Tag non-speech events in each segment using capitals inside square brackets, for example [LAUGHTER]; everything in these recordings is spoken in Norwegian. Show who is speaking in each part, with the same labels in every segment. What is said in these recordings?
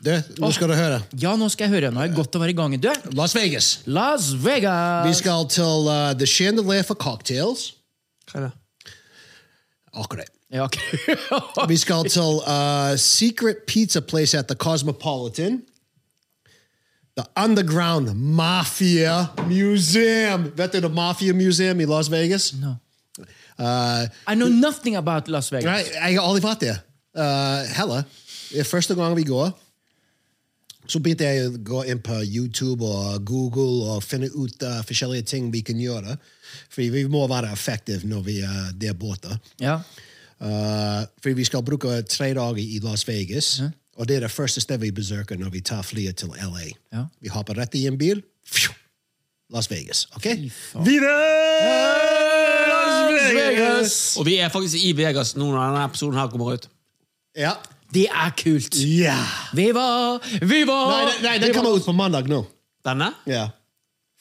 Speaker 1: Du, nå skal du høre.
Speaker 2: Ja, nå skal jeg høre. Nå er det godt å være i gang. Du,
Speaker 1: Las Vegas.
Speaker 2: Las
Speaker 1: Vi
Speaker 2: Vegas!
Speaker 1: skal til uh, The Chandelier for Cocktails.
Speaker 2: Hva er det?
Speaker 1: Akkurat.
Speaker 2: Ja, ok. [LAUGHS]
Speaker 1: Vi skal til uh, Secret Pizza Place at the Cosmopolitan. The Underground Mafia Museum. Vet du The Mafia Museum i Las Vegas? No. Uh,
Speaker 2: I know nothing about Las Vegas.
Speaker 1: Nei, jeg har aldri vært der. Uh, heller. Det er første gang vi går. Så begynte jeg å gå inn på YouTube og Google og finne ut uh, forskjellige ting vi kan gjøre. Fordi vi må være effektive når vi eh, er der borte.
Speaker 2: Ja.
Speaker 1: Uh, fordi vi skal bruke tre dager i Las Vegas. Og det er det første stedet vi besøker når vi tar flyet til LA.
Speaker 2: Ja.
Speaker 1: Vi hopper rett i en bil. Phew! Las Vegas. OK? Videre! Las Vegas!
Speaker 3: Og vi er faktisk i Vegas nå når denne episoden her kommer ut.
Speaker 1: Ja.
Speaker 2: Det er kult.
Speaker 1: ja.
Speaker 2: Vi var, vi var
Speaker 1: Nei, nei, nei, den kommer ut på mandag nå.
Speaker 3: Denne?
Speaker 1: Ja.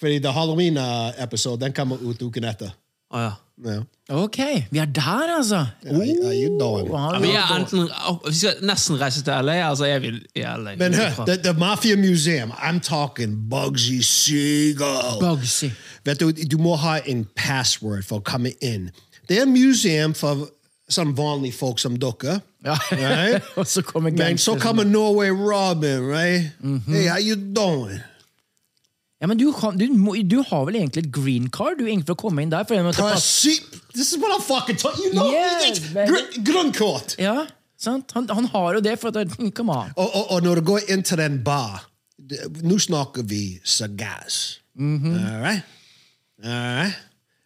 Speaker 1: Fordi The Halloween-episode den kommer ut uken etter.
Speaker 3: Å ja.
Speaker 1: Ja.
Speaker 2: Ok, vi er der, altså.
Speaker 1: Are, are you doing?
Speaker 2: Wow.
Speaker 3: Ja, vi, er enten, å, vi skal nesten reise til LA, altså er vi i LA.
Speaker 1: Men hør, the, the Mafia Museum, I'm talking Bugsy Siegel.
Speaker 2: Bugsy.
Speaker 1: Vet du, du må ha en password for å komme inn. Det er et museum for sånn vanlige folk som dere. Right?
Speaker 2: [LAUGHS] Og så kommer
Speaker 1: Men
Speaker 2: gangsteren.
Speaker 1: så
Speaker 2: Mhm.
Speaker 1: kommer Norway Robin, right? Hey, how you doing?
Speaker 2: Ja, men du, kan, du, må, du har vel egentlig et green card du egentlig for å komme inn der? For jeg måtte passe-
Speaker 1: Proceed. This is what I'm fucking talking You know,
Speaker 2: Yeah,
Speaker 1: it's
Speaker 2: man.
Speaker 1: [LAUGHS] gr- grunnkort.
Speaker 2: ja, sant? Han, han [LAUGHS] har jo det, for at Come on.
Speaker 1: Og, og, og når du går inn til den bar det- Nå snakker vi cigars. All right? All right?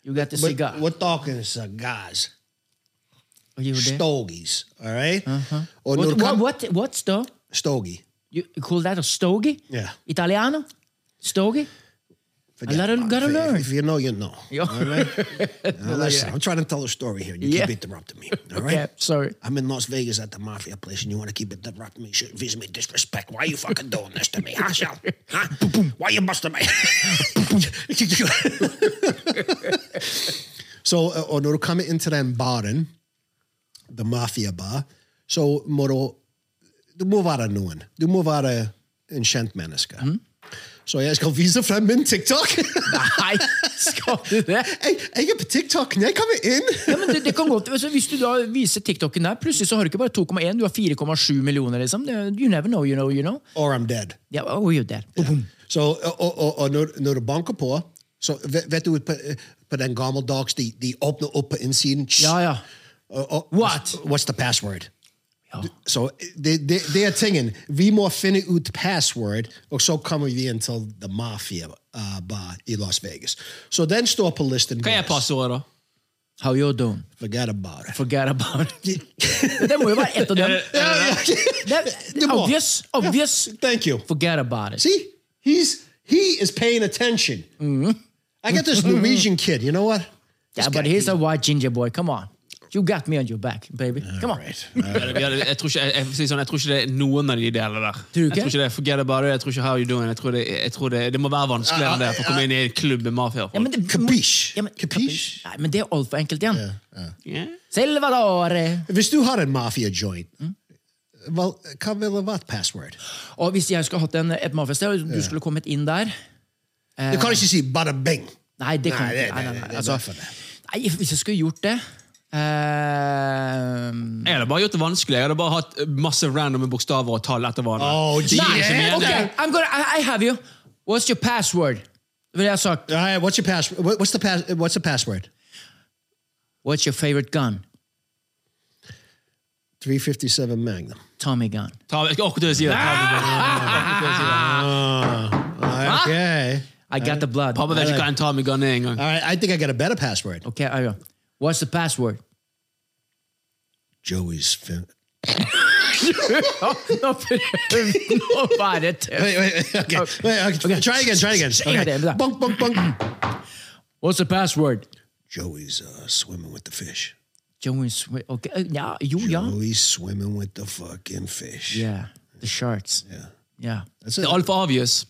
Speaker 2: You got the
Speaker 1: But
Speaker 2: cigar.
Speaker 1: We're talking cigars.
Speaker 2: Og gjorde det. Uh-huh.
Speaker 1: Stogies. All right?
Speaker 2: What,
Speaker 1: Og når du
Speaker 2: what,
Speaker 1: kom-
Speaker 2: what, what's the
Speaker 1: Stogie.
Speaker 2: You call that a stogie?
Speaker 1: Yeah.
Speaker 2: Italiano? Stogie?
Speaker 1: Forget
Speaker 2: gotta-
Speaker 1: about it.
Speaker 2: gotta
Speaker 1: If-
Speaker 2: learn.
Speaker 1: If, you know,
Speaker 2: [LAUGHS]
Speaker 1: you know.
Speaker 2: Ja.
Speaker 1: All right? Now listen, I'm trying to tell a story here. You
Speaker 2: Yeah.
Speaker 1: keep interrupting me. All right?
Speaker 2: Okay, sorry.
Speaker 1: I'm in Las Vegas at the mafia place, and you want to keep interrupting me, shit, visit me disrespect. Why are you fucking doing this to me,
Speaker 2: [LAUGHS]
Speaker 1: huh, Sal? Huh? Why you busting me? so, uh, og når du kommer inn til den baren, the mafia bar, så [LAUGHS] må du Du må være noen. Du må være en kjent menneske. Så jeg skal vise frem min TikTok.
Speaker 2: [LAUGHS] Nei, skal du det?
Speaker 1: jeg, jeg er på TikTok når jeg kommer inn.
Speaker 2: Ja, men det, det kan godt, altså, Hvis du da viser TikToken der, plutselig så har du ikke bare 2,1, du har 4,7 millioner. liksom. Det- You never know, you know, you know.
Speaker 1: Or I'm dead.
Speaker 2: Ja, oh, you there. Boom, boom.
Speaker 1: Så, og, og, og, og når, når du banker på, så vet, vet du på, på den gammeldags de, de åpner opp på innsiden tss,
Speaker 2: Ja, ja.
Speaker 1: og- og-
Speaker 2: What?
Speaker 1: What's the password?
Speaker 2: Ja.
Speaker 1: Så det, det, det er tingen. Vi må finne ut password, og så kommer vi inn til The Mafia uh, Bar i Las Vegas. Så den står på listen.
Speaker 3: Hva er
Speaker 1: vår.
Speaker 3: passordet, da?
Speaker 2: How you doing?
Speaker 1: Forget about it.
Speaker 2: Forget about it. Det må jo være ett av dem.
Speaker 4: Eh,
Speaker 2: Det
Speaker 1: Du
Speaker 2: er
Speaker 1: må.
Speaker 2: obvious. obvious.
Speaker 1: Thank you.
Speaker 2: Forget about it.
Speaker 1: See, he's he is paying attention. I got this Norwegian kid. You know what?
Speaker 2: Yeah,
Speaker 1: This
Speaker 2: but
Speaker 1: guy-
Speaker 2: he's a white ginger boy. Come on.
Speaker 1: You got me on your back, baby. Come on. [LAUGHS]
Speaker 2: Jeg, jeg, tror ikke, jeg, jeg, sier sånn, jeg tror ikke det er noen av de delene der.
Speaker 1: du ikke?
Speaker 2: Jeg tror ikke det er Forget about it. Jeg tror ikke How you doing. Jeg tror det, jeg tror det, det må være vanskeligere enn det for å komme inn i en klubb med mafiafolk.
Speaker 1: Ja, men det,
Speaker 4: Capiche?
Speaker 1: Ja, men,
Speaker 4: Capiche?
Speaker 1: Nei, men det er altfor enkelt igjen.
Speaker 2: Ja.
Speaker 1: Salvadore! Mm.
Speaker 4: Hvis du har en mafia joint, vel, hva ville vært password?
Speaker 1: Og hvis jeg skulle hatt en, et mafiasted, og du skulle kommet inn der eh,
Speaker 4: Du kan ikke si bada bing.
Speaker 1: Nei, det kan
Speaker 4: Nei, det-
Speaker 1: jeg ikke. Nei, nei,
Speaker 4: det-
Speaker 1: nei,
Speaker 4: det er derfor
Speaker 1: altså,
Speaker 4: det.
Speaker 1: nei, hvis jeg skulle gjort det ehm, eh,
Speaker 2: Jeg hadde bare gjort det vanskelig. Jeg hadde bare hatt masse randome bokstaver og tall etter hverandre.
Speaker 4: Oh,
Speaker 2: Det er ikke
Speaker 4: yeah.
Speaker 2: meningen.
Speaker 1: Ok, I'm gonna, I, I have you. What's your password? Det ville jeg sagt.
Speaker 4: All right, what's your password? What's the pass? What's the password?
Speaker 1: What's your favorite gun?
Speaker 4: 357 Magnum.
Speaker 1: Tommy gun.
Speaker 2: Ta, jeg skal akkurat til å si det.
Speaker 4: Ah, Okay. Uh,
Speaker 1: I got the blood.
Speaker 2: Pappa vet ikke hva en Tommy Gunn er engang.
Speaker 4: All right, I think I got a better password.
Speaker 1: Okay, I will. What's the password?
Speaker 4: Joey's
Speaker 1: [LAUGHS]
Speaker 4: fin.
Speaker 1: Nå
Speaker 4: [LAUGHS]
Speaker 1: prøver den å være tøff.
Speaker 4: Wait, wait, okay. Wait, okay. Try again, try again. Okay.
Speaker 1: Damn,
Speaker 4: Bunk, bunk, bunk.
Speaker 1: What's the password?
Speaker 4: Joey's uh, swimming with the fish.
Speaker 1: Joey Swi- ok, eh, Ja, jo, ja.
Speaker 4: Joey's swimming with the fucking fish.
Speaker 1: Yeah, the sharks. Ja.
Speaker 4: That's
Speaker 2: Det
Speaker 4: it.
Speaker 2: er altfor obvious.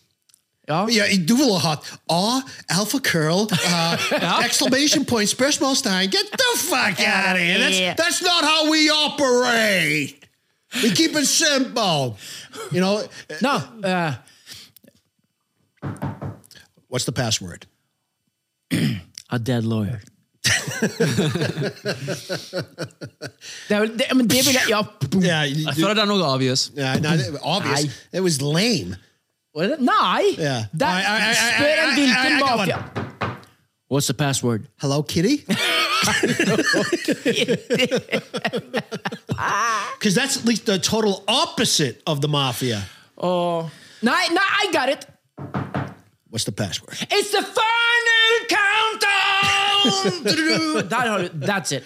Speaker 1: Ja.
Speaker 4: Ja, du vil ha hatt A, alpha curl,
Speaker 1: [LAUGHS]
Speaker 4: uh, exclamation point, spørsmålstegn. Get the fuck out of here! That's, that's not how we operate! We keep it simple. You know, uh,
Speaker 1: No, eh,
Speaker 4: what's the password?
Speaker 1: [CLEARS THROAT] a dead lawyer. det er vel, det, men det vil jeg Ja. boom.
Speaker 4: Yeah, you-
Speaker 2: Jeg føler den også er obvious.
Speaker 4: yeah no, that- obvious.
Speaker 1: Aye.
Speaker 4: It was lame.
Speaker 1: Var det- Nei!
Speaker 4: Yeah.
Speaker 1: Der,
Speaker 4: I- I- I- I-
Speaker 1: spør en
Speaker 4: I- I-
Speaker 1: hvilken
Speaker 4: I got one.
Speaker 1: mafia What's the password?
Speaker 4: Hello,
Speaker 1: [LAUGHS]
Speaker 4: kitty? Because that's at least the total opposite of the mafia.
Speaker 1: Åh. Nei, nei, I got it!
Speaker 4: What's the password?
Speaker 1: It's the final [LAUGHS] countdown! Du-du-du. Der har du That's it.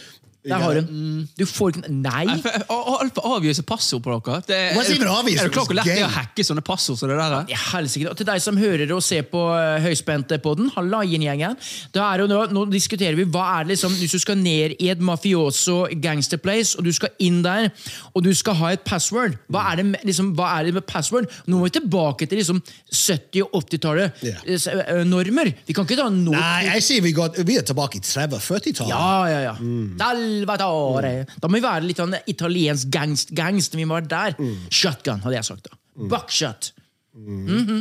Speaker 1: Der har du den. Du får ikke Nei!
Speaker 2: Jeg føler- å- å, Altfor obvious passord på dere. Det er,
Speaker 4: Wasn't even obvious,
Speaker 2: er
Speaker 4: it
Speaker 2: det klart hvor
Speaker 4: was
Speaker 2: lett det er å
Speaker 4: gay.
Speaker 2: hacke sånne passord som det der? eh? er?
Speaker 1: Ja, helsike. Og til deg som hører og ser på eh, høyspente på den, halla yin-gjengen. Da er det jo Nå, nå diskuterer vi hva er det liksom Hvis du skal ned i et mafioso gangster place, og du skal inn der, og du skal ha et password Hva er det med, liksom, hva er det med password? Nå må vi tilbake til liksom 70- og 80-tallet.
Speaker 4: Ja.
Speaker 1: eh, s- eh, Normer. Vi kan ikke ta nå
Speaker 4: Nah, I see we got we are tobacco Trevor 30 time.
Speaker 1: Ja, ja, ja. Salvatore. Da må vi være litt sånn italiensk gangst, gangst. Vi må være der. Shotgun, hadde jeg sagt da. Buckshot. Mhm.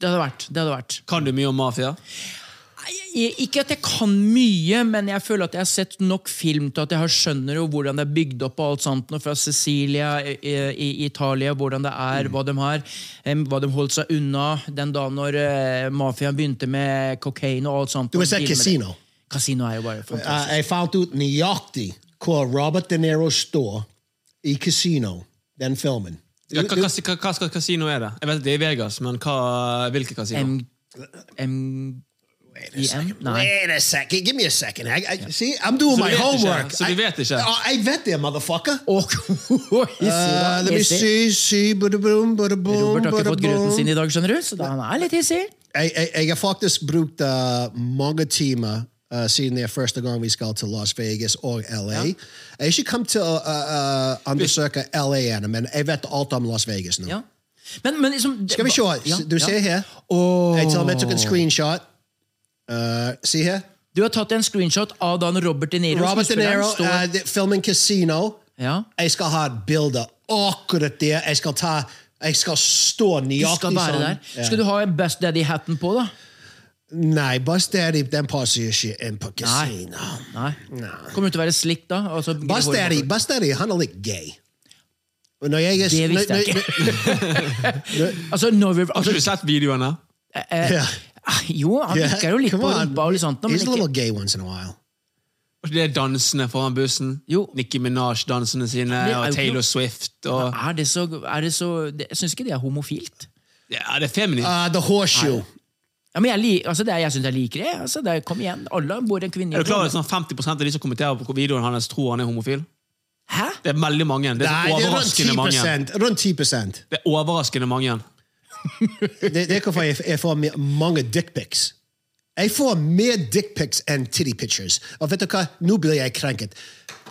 Speaker 1: Det hadde vært. Det hadde vært.
Speaker 2: Kan du mye om mafia?
Speaker 1: Jeg, ikke at jeg kan mye, men jeg føler at jeg har sett nok film til at jeg har skjønner jo hvordan det er bygd opp og alt sånt, noe fra Sicilia i, i Italia, hvordan det er,
Speaker 4: Mm.
Speaker 1: hva de har, em, hva de holdt seg unna den dagen når eh, mafiaen begynte med kokain og alt sånt.
Speaker 4: Du har
Speaker 1: og
Speaker 4: sett
Speaker 1: filmer det.
Speaker 4: Casino?
Speaker 1: Casino er jo bare fantastisk.
Speaker 4: Uh, I found out nøyaktig hvor Robert De Niro står i Casino, den filmen.
Speaker 2: Ja, hva, hva, hva, hva skal kasino er det? Jeg vet at det er i Vegas, men hva, hvilke kasino?
Speaker 1: M... E M... IM? Nei.
Speaker 4: Wait a second, give me a second. I, I, see, I'm doing
Speaker 2: Så
Speaker 4: my
Speaker 2: du vet ikke,
Speaker 4: homework.
Speaker 2: så du
Speaker 4: I-
Speaker 2: vet ikke.
Speaker 4: Uh, I vet det, motherfucker.
Speaker 1: [LAUGHS] Og
Speaker 4: Uh, let me see, see, ba-da-boom, ba-da-boom,
Speaker 1: Robert har ikke fått grøten
Speaker 4: ba-da-boom.
Speaker 1: sin i dag, skjønner du, så da han er litt hissig.
Speaker 4: Jeg, jeg, jeg har faktisk brukt uh, mange timer uh, siden det er første gang vi skal til Las Vegas og LA. Jeg har ikke kommet til å uh, uh, undersøke LA ennå, men jeg vet alt om Las Vegas nå.
Speaker 1: Ja. Men, men liksom
Speaker 4: Skal vi se.
Speaker 1: Ja,
Speaker 4: Du
Speaker 1: ja.
Speaker 4: ser her. Jeg til og med tok en screenshot. Uh, se her.
Speaker 1: Du har tatt en screenshot av da når Robert De Niro
Speaker 4: Robert De
Speaker 1: skuespilleren,
Speaker 4: Niro,
Speaker 1: står-
Speaker 4: uh, det- filmen Casino.
Speaker 1: ja.
Speaker 4: Jeg skal ha et bilde akkurat der. Jeg skal, ta, jeg skal stå
Speaker 1: Du
Speaker 4: nøyaktig sånn.
Speaker 1: skal være der. Skal du ha en Best Daddy-hatten på, da?
Speaker 4: Nei, Buzz Daddy den passer ikke inn på Casino.
Speaker 1: Nei. Kommer du til å være slick da? Altså,
Speaker 4: Buzz
Speaker 1: håret-
Speaker 4: Daddy, Buzz Daddy, han er litt gay. Og Når jeg er,
Speaker 1: Det visste jeg
Speaker 4: når- når- [LAUGHS]
Speaker 1: [LAUGHS] Altså, når vi,
Speaker 2: Har
Speaker 1: altså,
Speaker 2: ikke du sett videoene?
Speaker 4: Yeah,
Speaker 1: ah, jo, han
Speaker 4: yeah.
Speaker 1: virker jo litt
Speaker 4: Come
Speaker 1: på
Speaker 4: on.
Speaker 1: rumpa og litt sånt. da, men
Speaker 4: He's a little
Speaker 1: ikke,
Speaker 4: gay once in a while.
Speaker 2: Og Det er dansene foran bussen.
Speaker 1: Jo.
Speaker 2: Nicki Minaj-dansene sine,
Speaker 1: Det er jo
Speaker 2: og
Speaker 1: ikke noe-
Speaker 2: Taylor Swift. Og,
Speaker 1: er det så, er det så det, Jeg syns ikke det er homofilt.
Speaker 2: ja, det er feminint.
Speaker 4: Uh, the Horseshoe.
Speaker 1: Ja, men jeg, li- altså det, er- jeg syns jeg liker det. Altså det er, kom igjen, alle bor en kvinne i
Speaker 2: Er du klar over
Speaker 1: et
Speaker 2: at sånn 50 av de som kommenterer på videoen hans, tror han er homofil?
Speaker 1: Hæ?
Speaker 2: Det er veldig mange. Det er
Speaker 4: Nei,
Speaker 2: så
Speaker 4: det er rundt
Speaker 2: overraskende mange.
Speaker 4: 10%. Rundt 10%.
Speaker 2: Det er overraskende mange.
Speaker 4: Det, det er hvorfor jeg, jeg får me- mange dickpics. Jeg får mer dickpics enn titty pictures. Og vet du hva? Nå blir jeg krenket.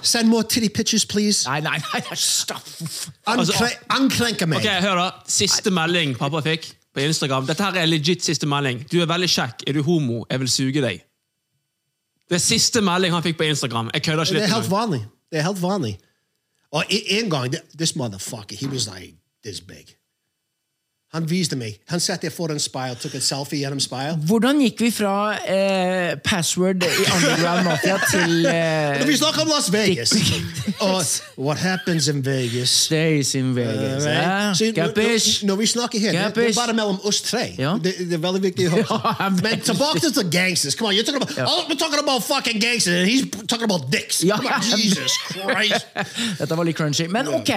Speaker 4: Send more titty pictures, please.
Speaker 1: Nei, nei, nei, det er staff.
Speaker 2: Altså,
Speaker 4: Ankle, anklenke meg.
Speaker 2: Ok, hør da. Siste melding pappa fikk på Instagram. Dette her er legit siste melding. Du er veldig kjekk. Er du homo? Jeg vil suge deg. Det er siste melding han fikk på Instagram. Jeg kødder ikke
Speaker 4: Det er
Speaker 2: litt.
Speaker 4: helt
Speaker 2: engang.
Speaker 4: vanlig. Det er helt vanlig. Og e- en gang, th- this motherfucker, he was like this big. Han viste meg. Han satt der foran speil, tok et selfie gjennom speil.
Speaker 1: Hvordan gikk vi fra eh, password i Underground Mafia til eh, [LAUGHS]
Speaker 4: Men Vi snakker om Las Vegas!
Speaker 1: dick-
Speaker 4: Og what happens in Vegas?
Speaker 1: Days in Vegas?
Speaker 4: Right? Så
Speaker 1: Eh?
Speaker 4: når-
Speaker 1: Kappish?
Speaker 4: når- Når vi snakker her, det- det er
Speaker 1: Kappish?
Speaker 4: bare mellom oss tre.
Speaker 1: Ja.
Speaker 4: Det, det er veldig
Speaker 1: [LAUGHS]
Speaker 4: viktig å
Speaker 1: Ja,
Speaker 4: huske. Men
Speaker 1: veldig.
Speaker 4: tilbake til the gangsters. Come on, you're talking about, oh, we're talking about fucking gangsters, and he's talking about dicks.
Speaker 1: Ja.
Speaker 4: Come
Speaker 1: [LAUGHS]
Speaker 4: on, Jesus Christ!
Speaker 1: Dette var litt crunchy. Men ok,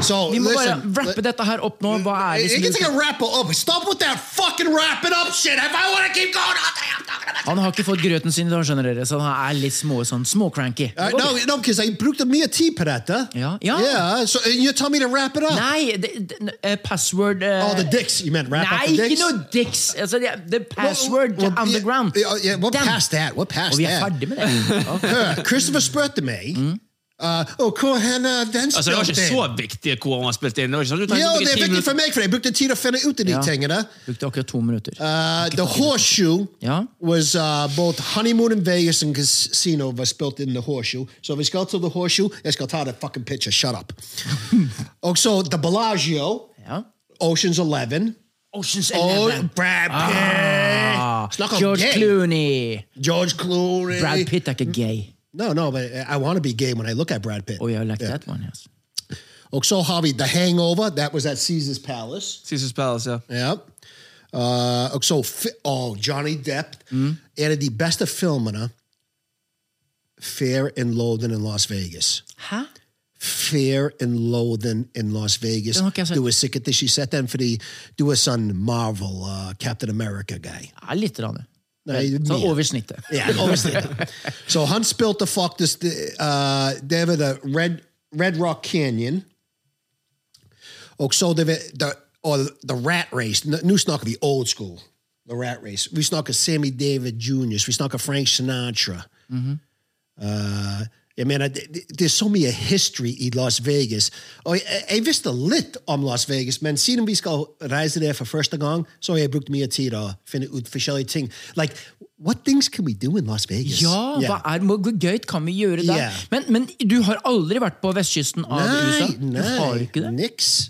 Speaker 4: So,
Speaker 1: vi må bare
Speaker 4: listen,
Speaker 1: wrappe dette her opp nå. Hva er
Speaker 4: You can
Speaker 1: det
Speaker 4: take
Speaker 1: som
Speaker 4: a wrap up. Stop with that fucking wrapping up shit. If I want to keep going all day, I'm talking about.
Speaker 1: han har ikke fått grøten sin, da, skjønner dere, så han er litt små, sånn, småcranky.
Speaker 4: Uh, no, no, because I brukte mye tid på dette.
Speaker 1: Ja, ja.
Speaker 4: Yeah, so and you tell me to wrap it up.
Speaker 1: Nei, det, det, eh, password eh,
Speaker 4: Oh, the dicks. You meant wrap up the
Speaker 1: Nei,
Speaker 4: dicks?
Speaker 1: ikke noe dicks! Altså, det, det er password
Speaker 4: Well,
Speaker 1: to underground.
Speaker 4: Yeah, yeah, we're
Speaker 1: Damn.
Speaker 4: past that. We're past
Speaker 1: Og vi er
Speaker 4: that.
Speaker 1: ferdig med det.
Speaker 4: [LAUGHS]
Speaker 1: Mm.
Speaker 4: Hør, Christopher spurte meg uh, oh, hvor hen uh, den
Speaker 2: Altså, det var
Speaker 4: spilte
Speaker 2: ikke så viktig hvor han har spilt inn. Det var ikke sånn at du
Speaker 4: Jo,
Speaker 2: trengte å bruke
Speaker 4: det er
Speaker 2: ti
Speaker 4: viktig
Speaker 2: minutter.
Speaker 4: for meg, for jeg brukte tid å finne ut av de
Speaker 1: Ja.
Speaker 4: tingene.
Speaker 1: Brukte akkurat to minutter.
Speaker 4: Uh, the horseshoe
Speaker 1: Ja.
Speaker 4: was uh, both honeymoon in Vegas and casino was built in the horseshoe. So vi skal til the horseshoe. Jeg skal ta the fucking picture. Shut
Speaker 1: [LAUGHS]
Speaker 4: up. Also, the Bellagio,
Speaker 1: Ja.
Speaker 4: Ocean's Eleven.
Speaker 1: Oceans
Speaker 4: Oh,
Speaker 1: Eleven.
Speaker 4: Brad Pitt. Snakk om
Speaker 1: Ah. George
Speaker 4: gay.
Speaker 1: Clooney.
Speaker 4: George Clooney.
Speaker 1: Brad Pitt er ikke gay.
Speaker 4: No, no, but I want to be gay when I look at Brad Pitt.
Speaker 1: Oh, yeah, I like that one, yes.
Speaker 4: Og så har vi Oh, The Hangover. That was at Caesar's Palace.
Speaker 2: Caesar's Palace, ja.
Speaker 4: Ja. Uh, og så fi- oh, Johnny Depp.
Speaker 2: Mm.
Speaker 4: En av de beste filmene Fair and Loathing in Las Vegas.
Speaker 1: Hæ?
Speaker 4: Fair and Loathing in Las Vegas.
Speaker 1: Den har ikke jeg sett.
Speaker 4: Du er sikkert ikke sett den fordi du er sånn Marvel, uh, Captain America-guy.
Speaker 1: Ja, litt. Rann.
Speaker 4: Nei,
Speaker 1: Sånn
Speaker 4: mer.
Speaker 1: over snittet.
Speaker 4: [LAUGHS] Ja, obviously.
Speaker 1: [LAUGHS]
Speaker 4: so han spilte faktisk uh, Det var det Red, Red Rock Canyon. Og så det var the, og the Rat Race. N- Nå snakker vi old school. The Rat Race. Vi snakker Sammy David Jr. Vi snakker Frank Sinatra. Uh, jeg mener, det, det, det er så mye history i Las Vegas. Og jeg, jeg visste litt om Las Vegas, men siden vi skal reise der for første gang, så har jeg brukt mye tid å finne ut forskjellige ting. Like, what things can we do in Las Vegas?
Speaker 1: Ja, hva
Speaker 4: Yeah.
Speaker 1: er, hvor gøy kan vi gjøre der?
Speaker 4: Ja.
Speaker 1: Men, men du har aldri vært på vestkysten av USA?
Speaker 4: Nei,
Speaker 1: Du har
Speaker 4: nei,
Speaker 1: ikke det?
Speaker 4: niks.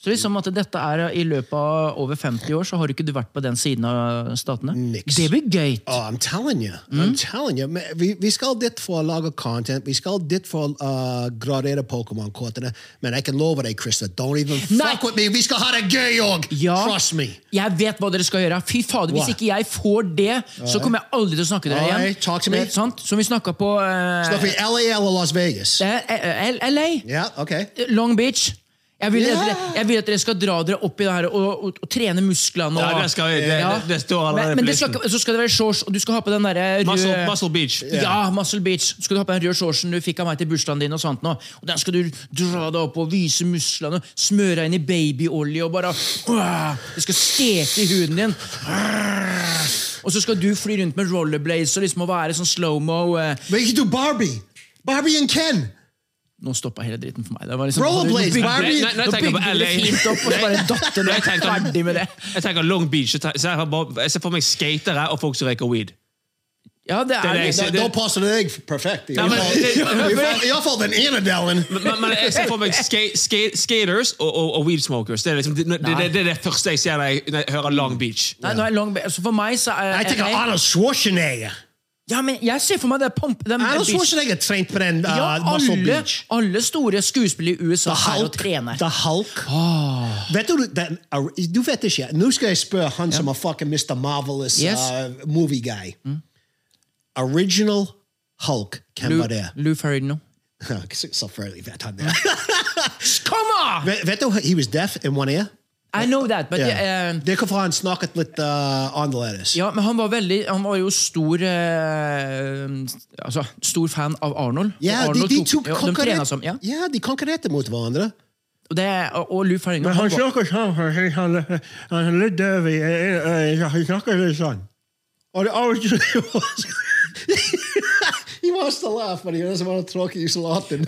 Speaker 1: Så liksom at dette er I løpet av over 50 år så har ikke du vært på den siden av statene?
Speaker 4: Niks.
Speaker 1: Det blir gøy! Mm.
Speaker 4: Oh, I'm telling you. I'm telling you. Men Vi, vi skal dit for å lage content. Vi skal dit for å uh, gradere Pokémon-kortene. Men jeg kan love deg, Christer, don't even
Speaker 1: Nei.
Speaker 4: fuck with me. Vi skal ha det gøy òg!
Speaker 1: Ja.
Speaker 4: Trust me.
Speaker 1: Jeg vet hva dere skal gjøre. Fy fader, Hvis
Speaker 4: Hva?
Speaker 1: ikke jeg får det, så kommer jeg aldri til å snakke dere igjen.
Speaker 4: Alright, talk to me.
Speaker 1: Det er sant? Som vi snakka på eh,
Speaker 4: Snakker vi LA eller Las Vegas?
Speaker 1: eh, eh, eh, LA,
Speaker 4: Ja, ok.
Speaker 1: Long Beach. Jeg vil, at
Speaker 4: Ja.
Speaker 1: dere, jeg vil at dere skal dra dere opp i det her og, og, og trene musklene. Og,
Speaker 2: Ja, det skal vi- det-
Speaker 1: Ja.
Speaker 2: det- det står allerede
Speaker 1: men,
Speaker 2: på
Speaker 1: men det skal,
Speaker 2: listen.
Speaker 1: ikke- Så skal det være shorts, og du skal ha på den derre
Speaker 2: Muscle,
Speaker 1: røde
Speaker 2: Muscle Beach.
Speaker 1: Ja, Muscle Beach. Så skal du ha på den røde shortsen du fikk av meg til bursdagen din. Og sånt nå. Og Den skal du dra deg opp og vise musklene, smøre deg inn i babyolje og bare Åh! Det skal steke i huden din. Åh! Og så skal du fly rundt med rollerblades og liksom og være sånn slow-mo. eh.
Speaker 4: Men ikke du Barbie? Barbie and Ken!
Speaker 1: Nå stoppa hele dritten for meg. Det var liksom,
Speaker 4: Rollerblades,
Speaker 1: Nå bygde-
Speaker 4: Barbie-
Speaker 2: Nei, nei, nei,
Speaker 1: nå
Speaker 2: tenker jeg på
Speaker 1: bygde det
Speaker 2: LA.
Speaker 1: fint opp, og så bare datt det
Speaker 2: Nei,
Speaker 1: ned.
Speaker 2: jeg tenker-
Speaker 1: Ferdig med det.
Speaker 2: Jeg tenker Long Beach. Jeg tenker- så Jeg, har bare, jeg ser for meg skatere og folk som røyker weed.
Speaker 1: Ja, det
Speaker 2: Det er
Speaker 1: er
Speaker 2: det jeg
Speaker 1: det.
Speaker 2: ser.
Speaker 4: Da passer det deg perfekt.
Speaker 2: Nei, men-
Speaker 4: Iallfall den ene delen.
Speaker 2: Men, men jeg ser for meg ska, ska, skaters og, og, og weed smokers. Det er, liksom, det, det, det, det er det første jeg ser når jeg, når jeg hører Long Beach.
Speaker 1: Nei, nå er Long Beach altså For meg så er
Speaker 4: Jeg tenker
Speaker 1: LA
Speaker 4: Arnold Schwarzenegger.
Speaker 1: Ja, men jeg ser for meg det pump... Den
Speaker 4: Arnold
Speaker 1: beachen.
Speaker 4: Schwarzenegger trent på den uh,
Speaker 1: Ja,
Speaker 4: Muscle
Speaker 1: alle,
Speaker 4: Beach.
Speaker 1: alle store skuespillere i USA
Speaker 4: The
Speaker 1: er jo
Speaker 4: Hulk.
Speaker 1: trener.
Speaker 4: The Hulk. Vet du, den, du vet ikke. Nå skal jeg spørre han som er fucking Mr. Marvelous
Speaker 1: Yes.
Speaker 4: uh, movie guy. Original Hulk. Hvem
Speaker 1: Lou,
Speaker 4: var det? [LAUGHS]
Speaker 1: Lou Ferrigno.
Speaker 4: Selvfølgelig vet han det.
Speaker 1: Come on!
Speaker 4: Vet- Vet du, he was deaf in one ear.
Speaker 1: I know that, but
Speaker 4: Ja.
Speaker 1: eh,
Speaker 4: Det er hvorfor han snakket litt uh, annerledes.
Speaker 1: ja, men han var veldig Han var jo stor eh, Altså, stor fan av Arnold. og
Speaker 4: Ja, de,
Speaker 1: Arnold
Speaker 4: de to
Speaker 1: ja, de
Speaker 4: konkurrerte
Speaker 1: trenet som, ja.
Speaker 4: ja, de konkurrerte mot hverandre.
Speaker 1: Og, det, og og Lou Ferrigno han var-
Speaker 4: snakker sånn. Han er litt døv i [LAUGHS] øyet. Han snakker litt sånn. Og det av og til
Speaker 2: wants to laugh, but he doesn't want to talk you so often.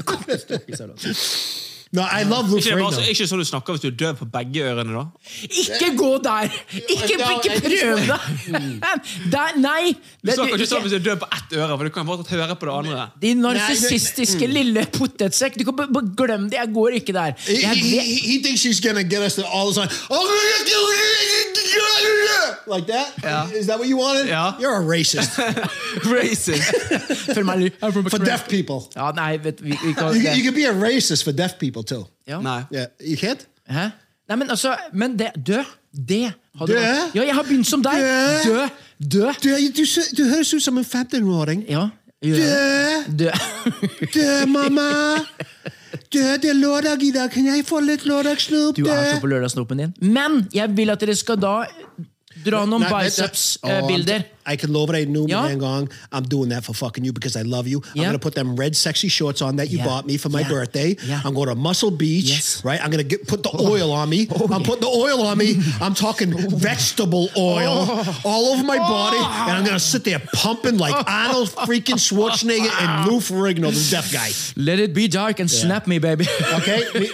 Speaker 2: no, I love
Speaker 5: Ikke, det er
Speaker 2: Luferino.
Speaker 5: bare så, ikke sånn du snakker hvis du er døv på begge ørene, da.
Speaker 1: Ikke gå der! Ikke,
Speaker 2: Ja,
Speaker 1: ikke
Speaker 2: jeg-
Speaker 1: prøv
Speaker 4: [LAUGHS]
Speaker 1: det! Der, nei!
Speaker 5: Du
Speaker 1: Det-
Speaker 5: snakker
Speaker 1: det-
Speaker 5: ikke sånn hvis du er døv på ett øre, for du kan fortsatt høre på det andre.
Speaker 1: De narsissistiske
Speaker 2: Mm.
Speaker 1: lille potetsekk. Du kan bare bare glem det, jeg går ikke der.
Speaker 2: He,
Speaker 1: Jeg
Speaker 2: he,
Speaker 1: vet,
Speaker 2: he- he thinks he's gonna get us to all the time. Like that? Is
Speaker 5: Yeah.
Speaker 2: that what you wanted?
Speaker 5: Yeah.
Speaker 2: You're a
Speaker 1: [LAUGHS]
Speaker 2: racist [LAUGHS]
Speaker 5: Racist.
Speaker 1: føler meg litt-
Speaker 2: for deaf people.
Speaker 1: Ja, nei, vet, vi, vi kan
Speaker 2: You, can- you
Speaker 1: ikke
Speaker 2: can be a racist for deaf people too.
Speaker 1: ja.
Speaker 5: Nei.
Speaker 2: Yeah, you can't.
Speaker 1: Hæ? Nei, men altså Men det Dø! Det hadde
Speaker 2: Dø?
Speaker 1: vært- Ja, jeg har begynt som deg! Dø!
Speaker 2: Dø?
Speaker 1: Dø!
Speaker 2: Du, du, du høres ut som en 15-åring.
Speaker 1: Ja. jeg gjør det.
Speaker 2: Dø!
Speaker 1: Dø! [LAUGHS]
Speaker 2: Dø, mamma! Dø, det er lørdag i dag. Kan jeg få litt lørdagssnop?
Speaker 1: Du er
Speaker 2: dø?
Speaker 1: så på lørdagssnopen din. Men jeg vil at dere skal da dra noen eh,
Speaker 2: Nei, vent, vent. Å,
Speaker 1: biceps-bilder.
Speaker 2: I'm- I can lover it new
Speaker 1: Ja.
Speaker 2: hang on. I'm doing that for fucking you because I love you. I'm
Speaker 1: Yeah.
Speaker 2: gonna put them red sexy shorts on that you
Speaker 1: Yeah.
Speaker 2: bought me for my
Speaker 1: Yeah.
Speaker 2: birthday.
Speaker 1: Yeah.
Speaker 2: I'm going to Muscle Beach,
Speaker 1: Yes.
Speaker 2: right? I'm gonna get put the oil on me. I'm putting the oil on me. I'm talking vegetable oil all over my body, and I'm gonna sit there pumping like Arnold freaking Schwarzenegger and Lou Ferrigno, the deaf guy.
Speaker 1: Let it be dark and snap me, baby.
Speaker 2: Okay, we,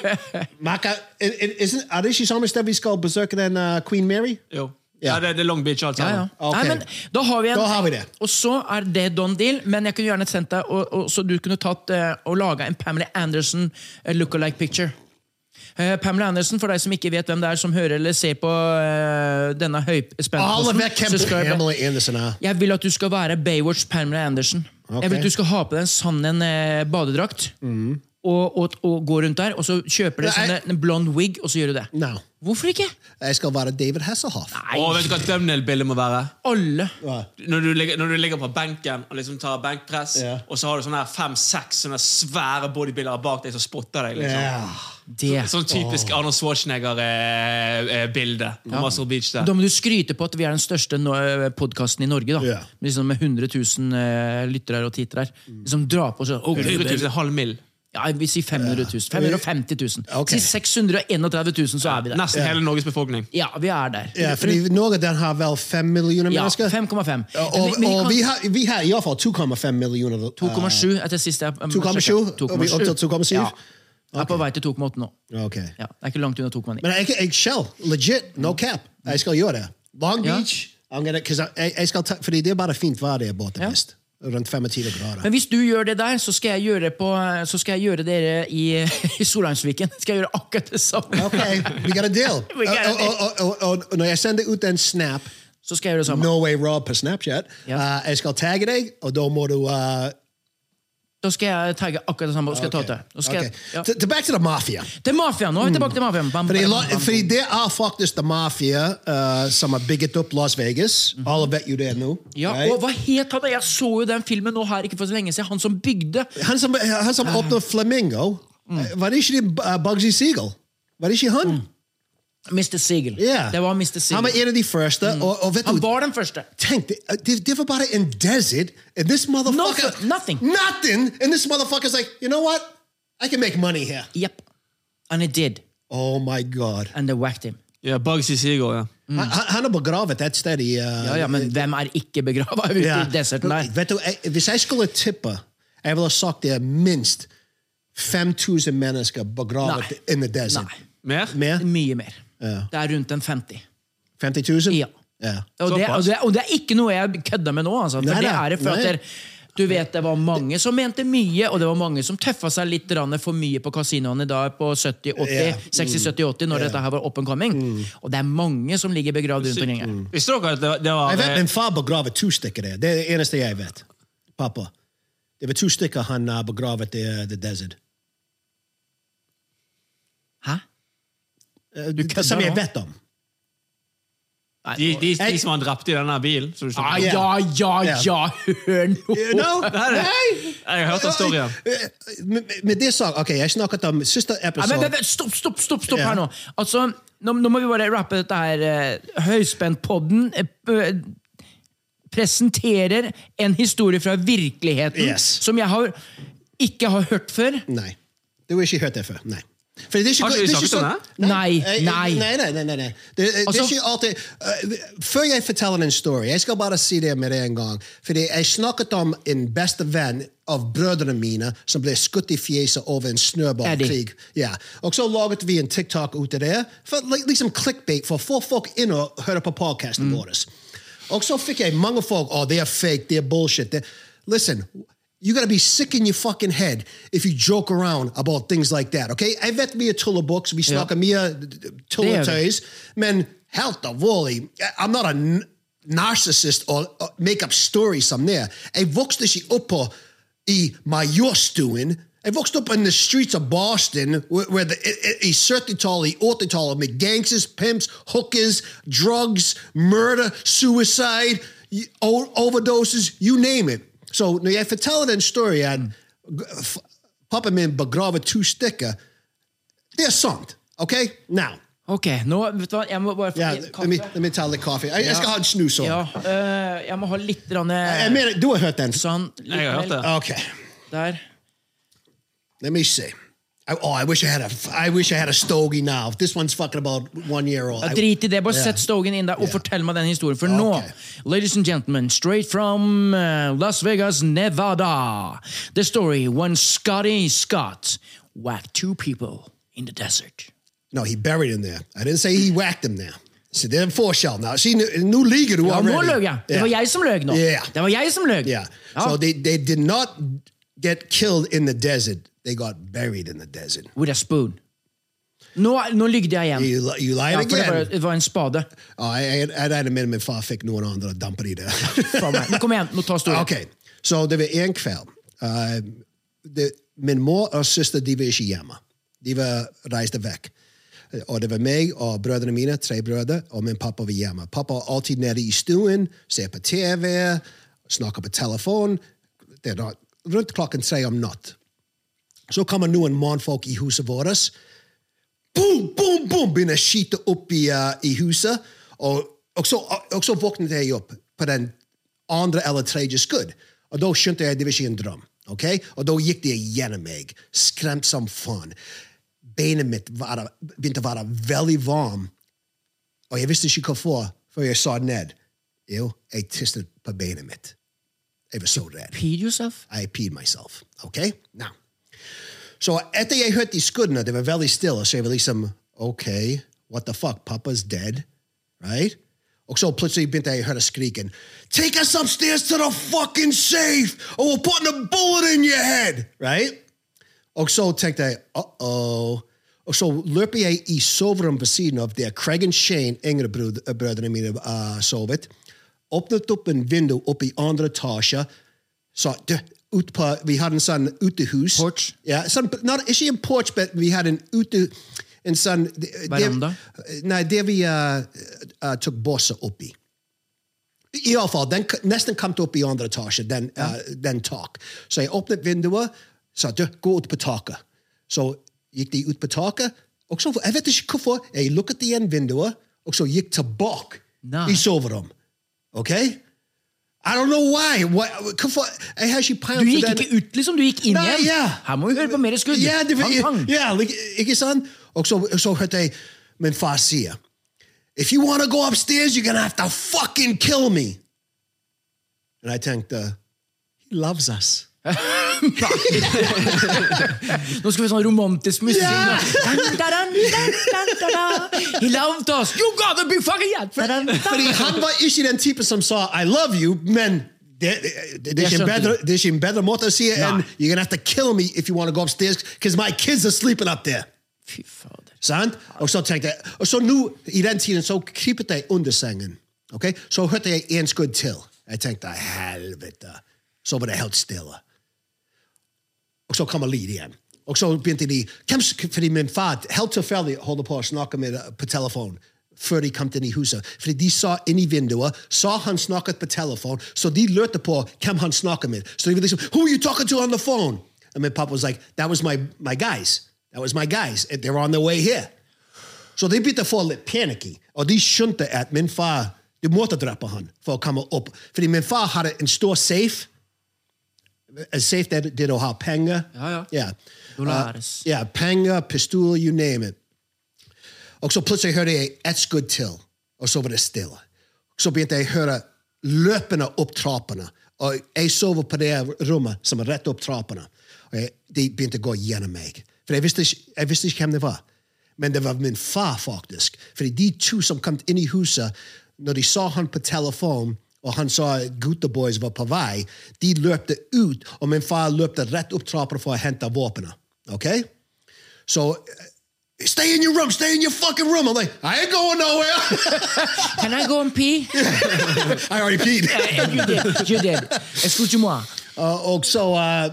Speaker 2: Maka, i- i- isn't are these some stuff he's called Berserker than uh, Queen Mary?
Speaker 5: Jo. Ja, det, det er Long Beach, altså. alt
Speaker 1: Ja, ja.
Speaker 5: sammen.
Speaker 2: Ah, Ok.
Speaker 1: Nei, men da har vi en
Speaker 2: Da har vi det.
Speaker 1: Og så er det done deal, men jeg kunne gjerne sendt deg og, og, så du kunne tatt eh, og laga en Pamela Anderson eh, look-alike picture. Eh, Pamela Anderson, for deg som ikke vet hvem det er som hører eller ser på eh, denne
Speaker 2: All of that
Speaker 1: høyspentposten,
Speaker 2: can
Speaker 1: så skal jeg,
Speaker 2: Ah, Pamela Anderson. Uh,
Speaker 1: jeg vil at du skal være Baywatch Pamela Anderson. Jeg vil at du skal ha på deg en sann en eh, badedrakt. Og, og, og gå rundt der, og så kjøper du sånn
Speaker 2: Nei.
Speaker 1: en blond wig, og så gjør du det.
Speaker 2: no.
Speaker 1: Hvorfor ikke?
Speaker 2: Jeg skal være David Hasselhoff.
Speaker 5: Og vet du hva thumbnail-bildet må være?
Speaker 1: Alle.
Speaker 5: Når du, ligger, når du ligger på benken og liksom tar benkpress,
Speaker 2: Ja.
Speaker 5: og så har du sånne her fem-seks sånne svære bodybuildere bak deg som spotter deg. liksom
Speaker 2: Ja.
Speaker 1: Det.
Speaker 5: Sånn typisk Arnold Schwarzenegger-bilde. på Muscle Beach der.
Speaker 1: Da må du skryte på at vi er den største no podkasten i Norge. da
Speaker 2: Ja.
Speaker 1: liksom Med 100 000 eh, lyttere og tittere.
Speaker 2: Mm.
Speaker 1: Liksom dra på sånn «Å,
Speaker 5: 100 000
Speaker 1: Gud,
Speaker 5: er halv mil.
Speaker 1: ja, Vi sier 500 000. 550 000.
Speaker 2: Ok.
Speaker 1: Si 631 000, så er vi der.
Speaker 5: Nesten hele Norges befolkning.
Speaker 1: Ja, vi er der.
Speaker 2: Ja, fordi Norge den har vel fem millioner
Speaker 1: Ja,
Speaker 2: mennesker?
Speaker 1: 5,5. Men
Speaker 2: Og, og,
Speaker 1: vi kan-
Speaker 2: vi, har, vi har i hvert fall 2,5 millioner. uh,
Speaker 1: 2,7 etter sist jeg jeg
Speaker 2: 2,7?
Speaker 1: sjekket.
Speaker 2: Er vi opp til 2,7?
Speaker 1: Ja. Jeg er på vei til 2,8 nå.
Speaker 2: ok.
Speaker 1: Ja, det er ikke langt unna 2,9.
Speaker 2: Men jeg, jeg skal, legit, no cap, jeg skal gjøre det. Long
Speaker 1: Ja.
Speaker 2: Beach, I'm gonna, 'cause jeg, jeg skal ta, fordi det er bare fint vær der borte
Speaker 1: Ja.
Speaker 2: mest. Rundt 25 grader.
Speaker 1: Men hvis du gjør det der, så skal jeg gjøre, på, så skal jeg gjøre dere i, [LAUGHS] i Solheimsviken. Skal jeg gjøre akkurat det samme.
Speaker 2: Ok, vi got a deal.
Speaker 1: [LAUGHS]
Speaker 2: Oh,
Speaker 1: We got a
Speaker 2: Og- og- og- og- og oh, når jeg sender ut en snap,
Speaker 1: Så skal jeg gjøre det samme.
Speaker 2: Norway Raw på Snapchat,
Speaker 1: Ja.
Speaker 2: uh, jeg skal tagge deg, og da må du uh,
Speaker 1: Da skal jeg tagge akkurat det samme. og skal jeg
Speaker 2: ok.
Speaker 1: ta det. Da skal
Speaker 2: Ok.
Speaker 1: jeg, ja.
Speaker 2: Til- Tilbake til the mafia.
Speaker 1: Til mafiaen! Nå er vi tilbake til mafiaen. Bam,
Speaker 2: Fordi,
Speaker 1: bam,
Speaker 2: la-
Speaker 1: bam.
Speaker 2: fordi det er faktisk the mafia uh, som har bygget opp Las Vegas. Alle vet jo det nå.
Speaker 1: Mhm. Ja,
Speaker 2: right?
Speaker 1: og hva het han? da? Jeg så jo den filmen nå her ikke for så lenge siden. Han som bygde. Ah. Mm.
Speaker 2: han som, han som åpnet Flamingo, Eh, var det ikke det, uh, Bugsy Siegel? Var det ikke han?
Speaker 1: Mr. Siegel.
Speaker 2: Ja.
Speaker 1: Det var Mr. Siegel.
Speaker 2: Han
Speaker 1: Mm.
Speaker 2: var en av de første. Og, og vet
Speaker 1: Han
Speaker 2: du,
Speaker 1: var den første.
Speaker 2: Tenk, det, uh, det, det var bare en desert, and this motherfucker...
Speaker 1: Nothing, nothing.
Speaker 2: Nothing, and this motherfucker's like, you know what? I can make money here.
Speaker 1: Yep. And he did.
Speaker 2: Oh my god.
Speaker 1: And they whacked him. Mm.
Speaker 5: Ja, Bugsy Seagull, ja.
Speaker 2: Han, han han er begravet et sted i... Uh,
Speaker 1: Ja, ja, Men hvem er ikke begrava ute
Speaker 2: Ja.
Speaker 1: i deserten der?
Speaker 2: Vet du, jeg, hvis jeg skulle tippe, jeg ville sagt det er minst 5000 mennesker begravet
Speaker 1: Nei.
Speaker 2: in the desert.
Speaker 1: Nei.
Speaker 5: Mer?
Speaker 2: Mer?
Speaker 1: Mye mer. Det er rundt en 50.
Speaker 2: 50 000?
Speaker 1: Ja.
Speaker 2: Ja.
Speaker 1: Og det, og, det, og det er ikke noe jeg kødder med nå. Altså, for
Speaker 2: Nei,
Speaker 1: det
Speaker 2: nei,
Speaker 1: er det for at
Speaker 2: nei.
Speaker 1: det- du vet, det var mange som mente mye, og det var mange som tøffa seg litt grann for mye på kasinoene da på 70, 80,
Speaker 2: Ja. Mm.
Speaker 1: 60, 70, 80, når dette her var up and coming. Og det er mange som ligger begravd rundt omkring her.
Speaker 5: Visste dere at det, det var
Speaker 1: Eh,
Speaker 2: Jeg vet min far begravet to stykker der. Det er det eneste jeg vet. Pappa. Det var to stykker han uh, begravet i uh, The Desert.
Speaker 1: Hæ?
Speaker 2: Uh, det, som
Speaker 1: kødder
Speaker 2: jeg
Speaker 1: nå?
Speaker 2: vet om.
Speaker 5: de, de, de som han drepte i denne bilen? Så du
Speaker 1: Ah,
Speaker 5: skjønner.
Speaker 1: ja, ja,
Speaker 2: Ja.
Speaker 1: ja, hør
Speaker 2: You
Speaker 1: nå!
Speaker 2: know? Nei!
Speaker 5: Jeg har hørt den storyen.
Speaker 2: Med, med det sagt, ok, jeg snakket om siste
Speaker 1: Nei, men,
Speaker 2: episode.
Speaker 1: men, men, stopp, stopp, stopp, stopp
Speaker 2: Ja.
Speaker 1: her nå. Altså, nå, nå må vi bare rappe dette her. eh, Høyspentpodden eh, p- presenterer en historie fra virkeligheten
Speaker 2: Yes.
Speaker 1: som jeg har, ikke har hørt før.
Speaker 2: Nei. Du har ikke hørt det før. Nei. For det er ikke,
Speaker 5: Har ikke vi
Speaker 2: det er
Speaker 5: snakket om
Speaker 2: sånn-
Speaker 5: det?
Speaker 1: Nei,
Speaker 2: Eh,
Speaker 1: nei.
Speaker 2: Nei, nei, nei, nei, nei. Det, det
Speaker 1: Altså-
Speaker 2: er ikke alltid eh, Før jeg forteller en story, jeg skal bare si det med det en gang. Fordi jeg snakket om en bestevenn
Speaker 1: av brødrene mine som ble skutt i fjeset over en snøballkrig. Ja. Og så laget vi en TikTok ut av det, for, li- liksom clickbait, for å få folk inn og høre på podkasten vår. Og så fikk jeg mange folk oh, they are fake, they are bullshit. They... Listen, you gotta be sick in your fucking head if you joke around about things like that. Okay? Jeg vet mye tullebukser, vi snakker mye tulletøys, men helt alvorlig, I- I'm not a n- narcissist or, or make up stories som det. Jeg vokste ikke opp på i majorstuen. Jeg vokste opp in the streets of Boston where, where the, i- i- i 70-tallet, i 80-tallet med gangsters, pimps, hookers, drugs, murder, suicide, y- o- overdoses, you name it. Så når jeg forteller den storyen, g- f- pappa min begraver to stykker, det er sant, ok? Now,
Speaker 2: Ok, nå, vet du hva, jeg må bare få
Speaker 1: yeah,
Speaker 2: litt
Speaker 1: let, me, let me tell the coffee. Jeg, jeg skal ha en snus over.
Speaker 2: Ja, øh, jeg må ha litt rann,
Speaker 1: Jeg mener, du har hørt den.
Speaker 2: sånn, litt
Speaker 3: Jeg har hørt
Speaker 2: melk
Speaker 3: det.
Speaker 1: Ok,
Speaker 2: Der.
Speaker 1: let me see. I, oh, I wish I had a. I wish I had a stogie now. This one's fucking about one year old.
Speaker 2: Ja,
Speaker 1: I-
Speaker 2: drit i det, bare
Speaker 1: Ja.
Speaker 2: sett Stogen inn der og fortell meg den historien. For
Speaker 1: Ok.
Speaker 2: nå, ladies and gentlemen, straight from uh, Las Vegas, Nevada. The story when Scotty Scott whacked two people in the desert.
Speaker 1: No, he buried him there. I didn't say he whacked him there. So they're in foreshell now. See, new league du
Speaker 2: Ja, nå
Speaker 1: already.
Speaker 2: løg jeg! Det var jeg som løg nå.
Speaker 1: Ja.
Speaker 2: Det var jeg som løg.
Speaker 1: Yeah.
Speaker 2: Ja.
Speaker 1: So they, they did not get killed in the desert. They got buried in the desert.
Speaker 2: With a spoon. Nå, nå lygde jeg igjen.
Speaker 1: You, li- you lied
Speaker 2: Ja, for det,
Speaker 1: again.
Speaker 2: var, det var en spade.
Speaker 1: oh, I, I, I had a minimum far fikk noen andre damper i det.
Speaker 2: Faen meg. Men kom igjen, nå tar
Speaker 1: [LAUGHS]
Speaker 2: storyen.
Speaker 1: Ok, så det var en kveld. Eh, det, min mor og søster de var ikke hjemme. De var reiste vekk. Eh, Og det var meg og brødrene mine, tre brødre, og min pappa var hjemme. Pappa var alltid nede i stuen, ser på TV, snakker på telefon. Det er da rundt klokken tre om natt. Så kommer noen mannfolk i huset vårt boom, boom, boom, begynner å skyte opp i, eh, i huset. Og, og, så, og så våknet jeg opp på den andre eller tredje skudd. Og da skjønte jeg det var ikke en drøm. ok? Og da gikk de gjennom meg, skremt som faen. Beinet mitt var, begynte å være veldig varm, og jeg visste ikke hvorfor før jeg sa ned. Jo, jeg tisset på beinet mitt. Jeg var så redd.
Speaker 2: Peed yourself?
Speaker 1: I peed myself. Okay? Now. So etter jeg hørte de skuddene, det var veldig stille, så jeg var liksom OK, what the fuck, pappa's dead, right? Og så plutselig begynte jeg å høre skriken Take us upstairs to the fucking safe, or we're putting a bullet in your head, right? Og så tenkte jeg, uh-oh. Og så løper jeg i soverommet ved siden av der Craig og Shane, yngre brød- eh, brødrene mine, uh, sovet. Åpnet opp en vindu oppe i andre etasje. Så du, ut på, vi hadde en sånn utehus.
Speaker 2: Porch?
Speaker 1: Ja, sånn, not, ikke en porch, men vi hadde en ute... En sånn... det-
Speaker 2: Veranda?
Speaker 1: det- Nei, det vi uh, uh, tok båset opp i. Iallfall, den k- nesten kom til opp i andre etasje, den, eh, den tak. Så jeg åpnet vinduet, sa du, gå ut på taket. Så gikk de ut på taket, og så, jeg vet ikke hvorfor, jeg lukket igjen vinduet, og så gikk tilbake
Speaker 2: Nei.
Speaker 1: i soverommet. Ok? I don't know why. Why- hvorfor? Jeg har ikke peiling
Speaker 2: Du gikk
Speaker 1: på
Speaker 4: er
Speaker 1: den-
Speaker 2: ikke ut, liksom? Du gikk inn
Speaker 1: Nei,
Speaker 2: igjen?
Speaker 1: ja.
Speaker 2: Her må vi høre på mer skudd!
Speaker 1: Ja, det,
Speaker 2: Pang, pang.
Speaker 1: ja like, ikke sant? Og så, så hørte jeg min far si If you want to go upstairs, you're gonna have to fucking kill me. And I tenkte, he loves us.
Speaker 2: Nå skal vi sånn romantisk musikk.
Speaker 1: Ja!
Speaker 2: Dun, dun, dun, dun, dun, dun, dun. [LAUGHS] He loved us! You gotta be fucking yet! Dun, dun, dun.
Speaker 1: Fordi han var ikke den typen som sa I love you, men det, det, det,
Speaker 2: Jeg
Speaker 1: er ikke en
Speaker 2: skjønte
Speaker 1: bedre, det er ikke en bedre måte å si det enn
Speaker 2: Nei.
Speaker 1: You're gonna have to kill me if you want to go upstairs, because my kids are sleeping up there.
Speaker 2: Fy fader.
Speaker 1: Sant? Oh, Og så tenkte jeg, og så nå, i den tiden, så krypet jeg under sengen. ok? Så hørte jeg en skudd til. Jeg tenkte, helvete. Så var det helt stille. Og så kommer lyd igjen. Og så begynte de, hvem, sk- fordi min far helt tilfeldig holder på å snakke med på telefon før de kom inn i huset. Fordi de sa inn i vinduet, sa han snakket på telefon, så de lurte på hvem han snakket med. Så de var liksom, who are you talking to on the phone? And my papa was like, that was my, my guys. That was my guys. They're on their way here. Så de begynte å få litt panicky, og de skjønte at min far de måtte drepe han for å komme opp. Fordi min far hadde en stor safe. En safe der der du har penger.
Speaker 2: Ja, ja.
Speaker 1: Uh,
Speaker 2: Dolores.
Speaker 1: ja, penger, pistol, you name it. Og så plutselig hørte jeg ett skudd til, og så var det stille. Så begynte jeg å høre løpende opp trappene, Og jeg sover på det rommet som er rett opp trappene. Og jeg, de begynte å gå gjennom meg. For jeg visste, ikke, jeg visste ikke hvem det var. Men det var min far, faktisk. Fordi de to som kom inn i huset, når de så han på telefon, og han sa gutta boys var på vei, de løpte ut, og min far løpte rett opp trappene for å hente våpenet. Okay? So stay in your room, stay in your fucking room. I'm like, I ain't going nowhere.
Speaker 2: [LAUGHS] Can I go and pee?
Speaker 1: [LAUGHS] I already peed.
Speaker 2: you did. You did. Excuse-moi.
Speaker 1: Uh, og så uh,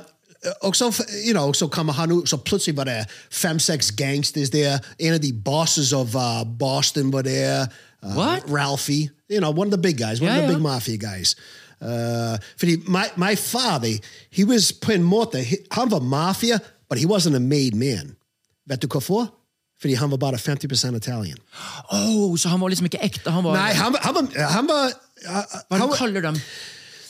Speaker 1: og så, you know, så kommer han ut, så plutselig var det fem-seks gangsters der. En av de bosses av uh, Boston var der. Uh,
Speaker 2: What?
Speaker 1: Ralphie. You know, one of the big guys, one
Speaker 2: Ja,
Speaker 1: of the
Speaker 2: ja.
Speaker 1: big mafia guys. Uh, fordi my, my father, he was på en måte, he- han var mafia, but he wasn't a made man. Vet du hvorfor? Fordi han var bare 50% Italian.
Speaker 2: Oh, så han var liksom ikke ekte? Han var,
Speaker 1: Nei, han, var- han var, han var
Speaker 2: hva er det
Speaker 1: han var-
Speaker 2: du kaller dem?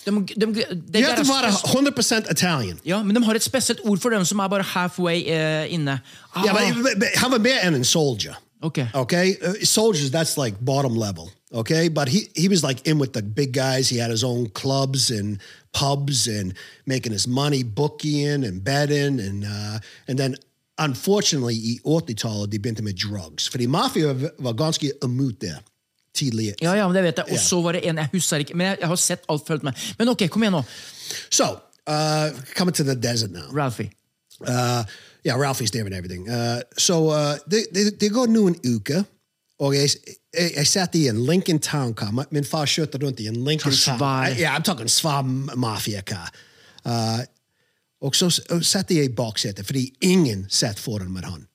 Speaker 2: De, de, de, det
Speaker 1: You have
Speaker 2: der
Speaker 1: to
Speaker 2: er
Speaker 1: være
Speaker 2: spes-
Speaker 1: 100% Italian.
Speaker 2: ja, men de har et spesielt ord for dem som er bare halfway eh, inne. Ah,
Speaker 1: Yeah, but, but, but have a man and a soldier.
Speaker 2: Okay.
Speaker 1: Okay. Uh, soldiers, that's like bottom level. Okay. But he, he was like in with the big guys. He had his own clubs and pubs and making his money bookieing and betting. And uh, and then unfortunately, he återtalade de begynte med drugs. For the mafia var ganska emot det tidligere.
Speaker 2: Ja, ja, men det vet jeg. Og så var det en jeg husker ikke, men jeg, jeg har sett alt fulgt med. Men ok, kom igjen nå.
Speaker 1: So, uh, coming to the desert now.
Speaker 2: Ralphie.
Speaker 1: Uh, yeah, Ralphie's there and everything. Uh, so uh, they, they, they går nu en uke. Og jeg, jeg, jeg satt i en Lincoln Town-car. Ma- Min far kjørte rundt i en Lincoln
Speaker 2: Sånn
Speaker 1: Town.
Speaker 2: svær.
Speaker 1: Yeah, I'm talking svær mafia-car. Uh, og så s- og satt jeg i baksetet, fordi ingen satt foran med han.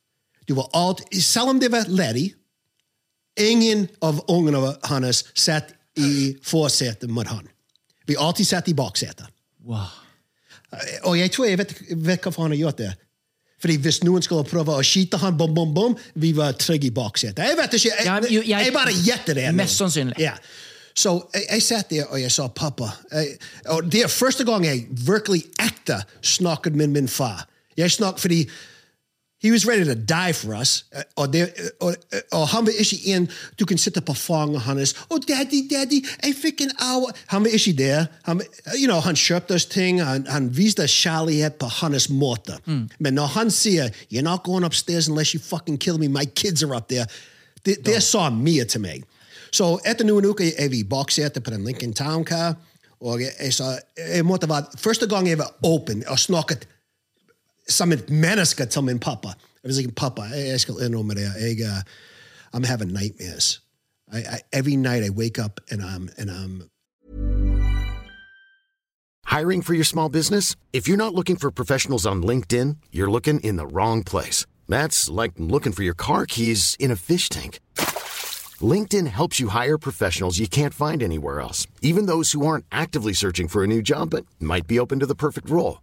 Speaker 1: Det var alt, selv om det var ledig, ingen av ungene hans satt i forsetet med han. Vi alltid satt i baksetet.
Speaker 2: Wow.
Speaker 1: Og jeg tror jeg vet, vet hvorfor han har gjort det. Fordi Hvis noen skulle prøve å skyte han, bom, bom, bom, vi var trygge i baksetet. Jeg vet ikke,
Speaker 2: Ja,
Speaker 1: jeg,
Speaker 2: jo,
Speaker 1: jeg,
Speaker 2: jeg-
Speaker 1: bare gjetter det. nå.
Speaker 2: Mest sannsynlig.
Speaker 1: Ja. Så jeg, jeg satt der og jeg sa 'pappa'. Jeg, og det er første gang jeg virkelig ekte snakket med min far. Jeg snakket fordi He was ready to die for us. eh, Og, det, eh, og, eh, og han vil ikke inn. Du kan sitte på fanget hans. Og Oh, daddy, daddy, jeg fikk en hour. Han vil ikke det. Han, uh, you know, han kjøpte oss ting. Han, han viste kjærlighet på hans måte. Men når han sier 'You're not going upstairs unless you fucking kill me. My kids are up there', det, det sa mye til meg. Så etter noen uker er vi i baksetet på den Lincoln Town Car. eh, Og jeg, jeg sa, jeg måtte være, første gang jeg var åpen og snakket som et menneske til min pappa. Jeg var sånn, pappa, jeg, jeg skal innrømme det. Jeg, uh, I'm having nightmares. I, I, every night I wake up and I'm, and I'm
Speaker 6: Hiring for your small business? If you're not looking for professionals on LinkedIn, you're looking in the wrong place. That's like looking for your car keys in a fish tank. LinkedIn helps you hire professionals you can't find anywhere else, even those who aren't actively searching for a new job but might be open to the perfect role.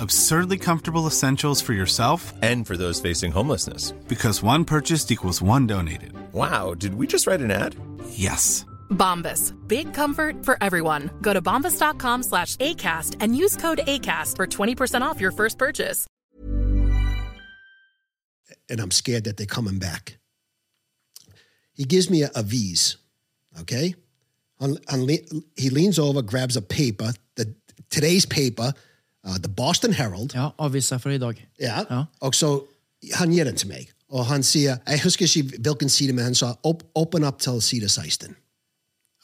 Speaker 4: Absurdly comfortable essentials for yourself
Speaker 7: And for those facing homelessness.
Speaker 4: because one purchased equals one donated.
Speaker 7: Wow, did we just write an ad?
Speaker 4: Yes.
Speaker 5: Bombas. Big comfort for everyone. Go to bombas.com slash ACAST and use code ACAST for 20% off your first purchase.
Speaker 1: and I'm scared that they're coming back. He gives me a, a V's, okay? On, on, le- he leans over, grabs a paper, the today's paper, uh, the Boston Herald.
Speaker 2: Ja, avisa fra i dag.
Speaker 1: Ja.
Speaker 2: Ja.
Speaker 1: Og så han gir den til meg. Og han sier Jeg husker ikke hvilken side, men han sa Åp, åpen opp til side 16.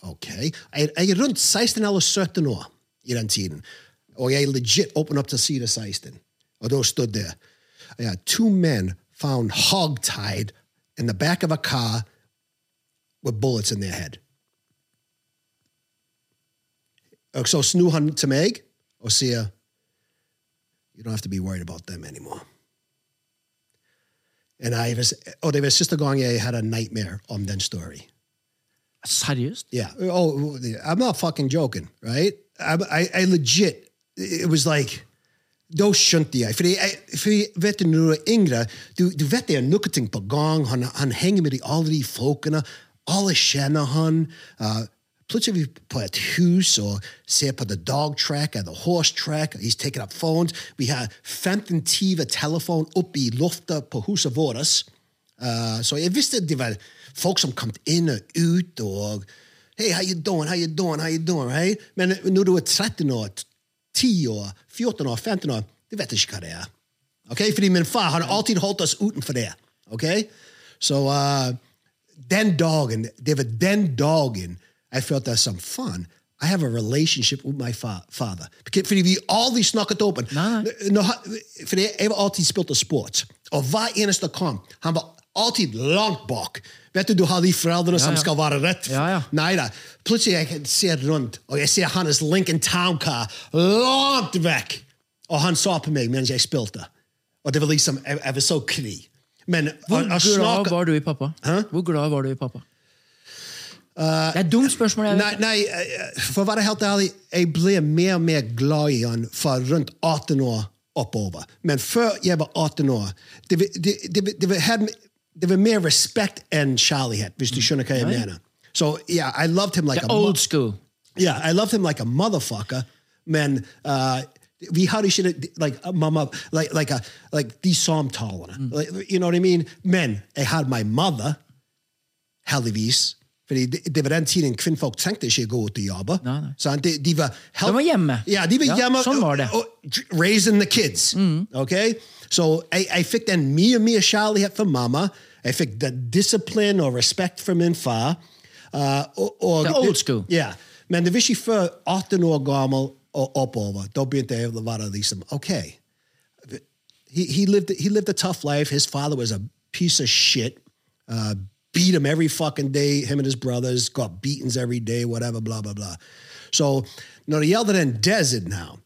Speaker 1: Ok. Jeg, jeg er rundt 16 eller 17 år i den tiden. Og jeg legit åpnet opp til side 16. Og da stod det ja, Two men found hogtied in the back of a car with bullets in their head. Og så snur han til meg og sier you don't have to be worried about them anymore. And I was, oh, they were Sister Gagne had a nightmare on that story.
Speaker 2: Seriøst?
Speaker 1: Yeah. Oh, I'm not fucking joking, right? I, I, I legit, it was like, Da skjønte jeg. Fordi, jeg, fordi vet du, når du er yngre, du, du vet det er noe ting på gang. Han, han henger med de, alle de folkene. Alle kjenner han. Uh, plutselig er vi på et hus og ser på the dog track and the horse track. He's taking up phones. Vi har 15-20 telefon oppe i lufta på huset vårt. Uh, så jeg visste det var folk som kom inn og ut og Hey, how you doing? How you doing? How you doing? Right? Men når du er 13 år 10 år, 14 år, 15 år, de vet ikke hva det er. Ok? Fordi min far har alltid holdt oss utenfor det. Ok? Så eh, den dagen, det var den dagen jeg følte det som faen. I have a relationship with my fa father. Beca- Fordi vi aldri snakket åpen. Når han- Fordi jeg var alltid spilt av sport. Og hver eneste kom, han var alltid langt bak. Vet du, du har de foreldrene som
Speaker 2: ja.
Speaker 1: skal være rett.
Speaker 2: Ja, ja.
Speaker 1: Nei da. Plutselig jeg kan se rundt, og jeg ser hans Lincoln Town Car langt vekk. Og han så på meg mens jeg spilte. Og det var liksom Jeg, jeg var så kri. Men
Speaker 2: Hvor
Speaker 1: han- han
Speaker 2: glad
Speaker 1: snakker-
Speaker 2: var du i pappa? Hvor glad var du i pappa? det er et dumt spørsmål. jeg vet.
Speaker 1: Nei, nei, eh, for å være helt ærlig, jeg ble mer og mer glad i han fra rundt 18 år oppover. Men før jeg var 18 år, det, var- det, det, var- det, var- hadde- det var mer respekt enn kjærlighet, hvis du skjønner hva jeg mener. Så ja, I loved him like
Speaker 2: Det er
Speaker 1: a mo-
Speaker 2: old school.
Speaker 1: Yeah, I loved him like a motherfucker. Man, uh, we how do shit like uh, mama like like a like these psalm tolerant.
Speaker 2: Mm.
Speaker 1: Like, you know what I mean? Men, I had my mother, heldigvis. Fordi det, det var den tiden kvinnfolk trengte ikke gå ut og jobbe. Sant? de, de var helt-
Speaker 2: De var hjemme.
Speaker 1: Ja, de var
Speaker 2: Ja,
Speaker 1: hjemme.
Speaker 2: sånn var det. Mm.
Speaker 1: Og, og raising the kids. Ok? Så jeg, jeg fikk den mye, mye kjærlighet fra mamma. Jeg fikk den disiplin og respekt fra min far. Uh, og, og,
Speaker 2: Det er old school.
Speaker 1: Ja. Men det var ikke før 18 år gammel og oppover. Da begynte jeg å være liksom OK. He, he, lived, he lived a tough life. His father was a piece of shit. Uh, beat him every fucking day. Him and his brothers got beatings every day, whatever, blah, blah, blah. So, når det gjelder den desert now,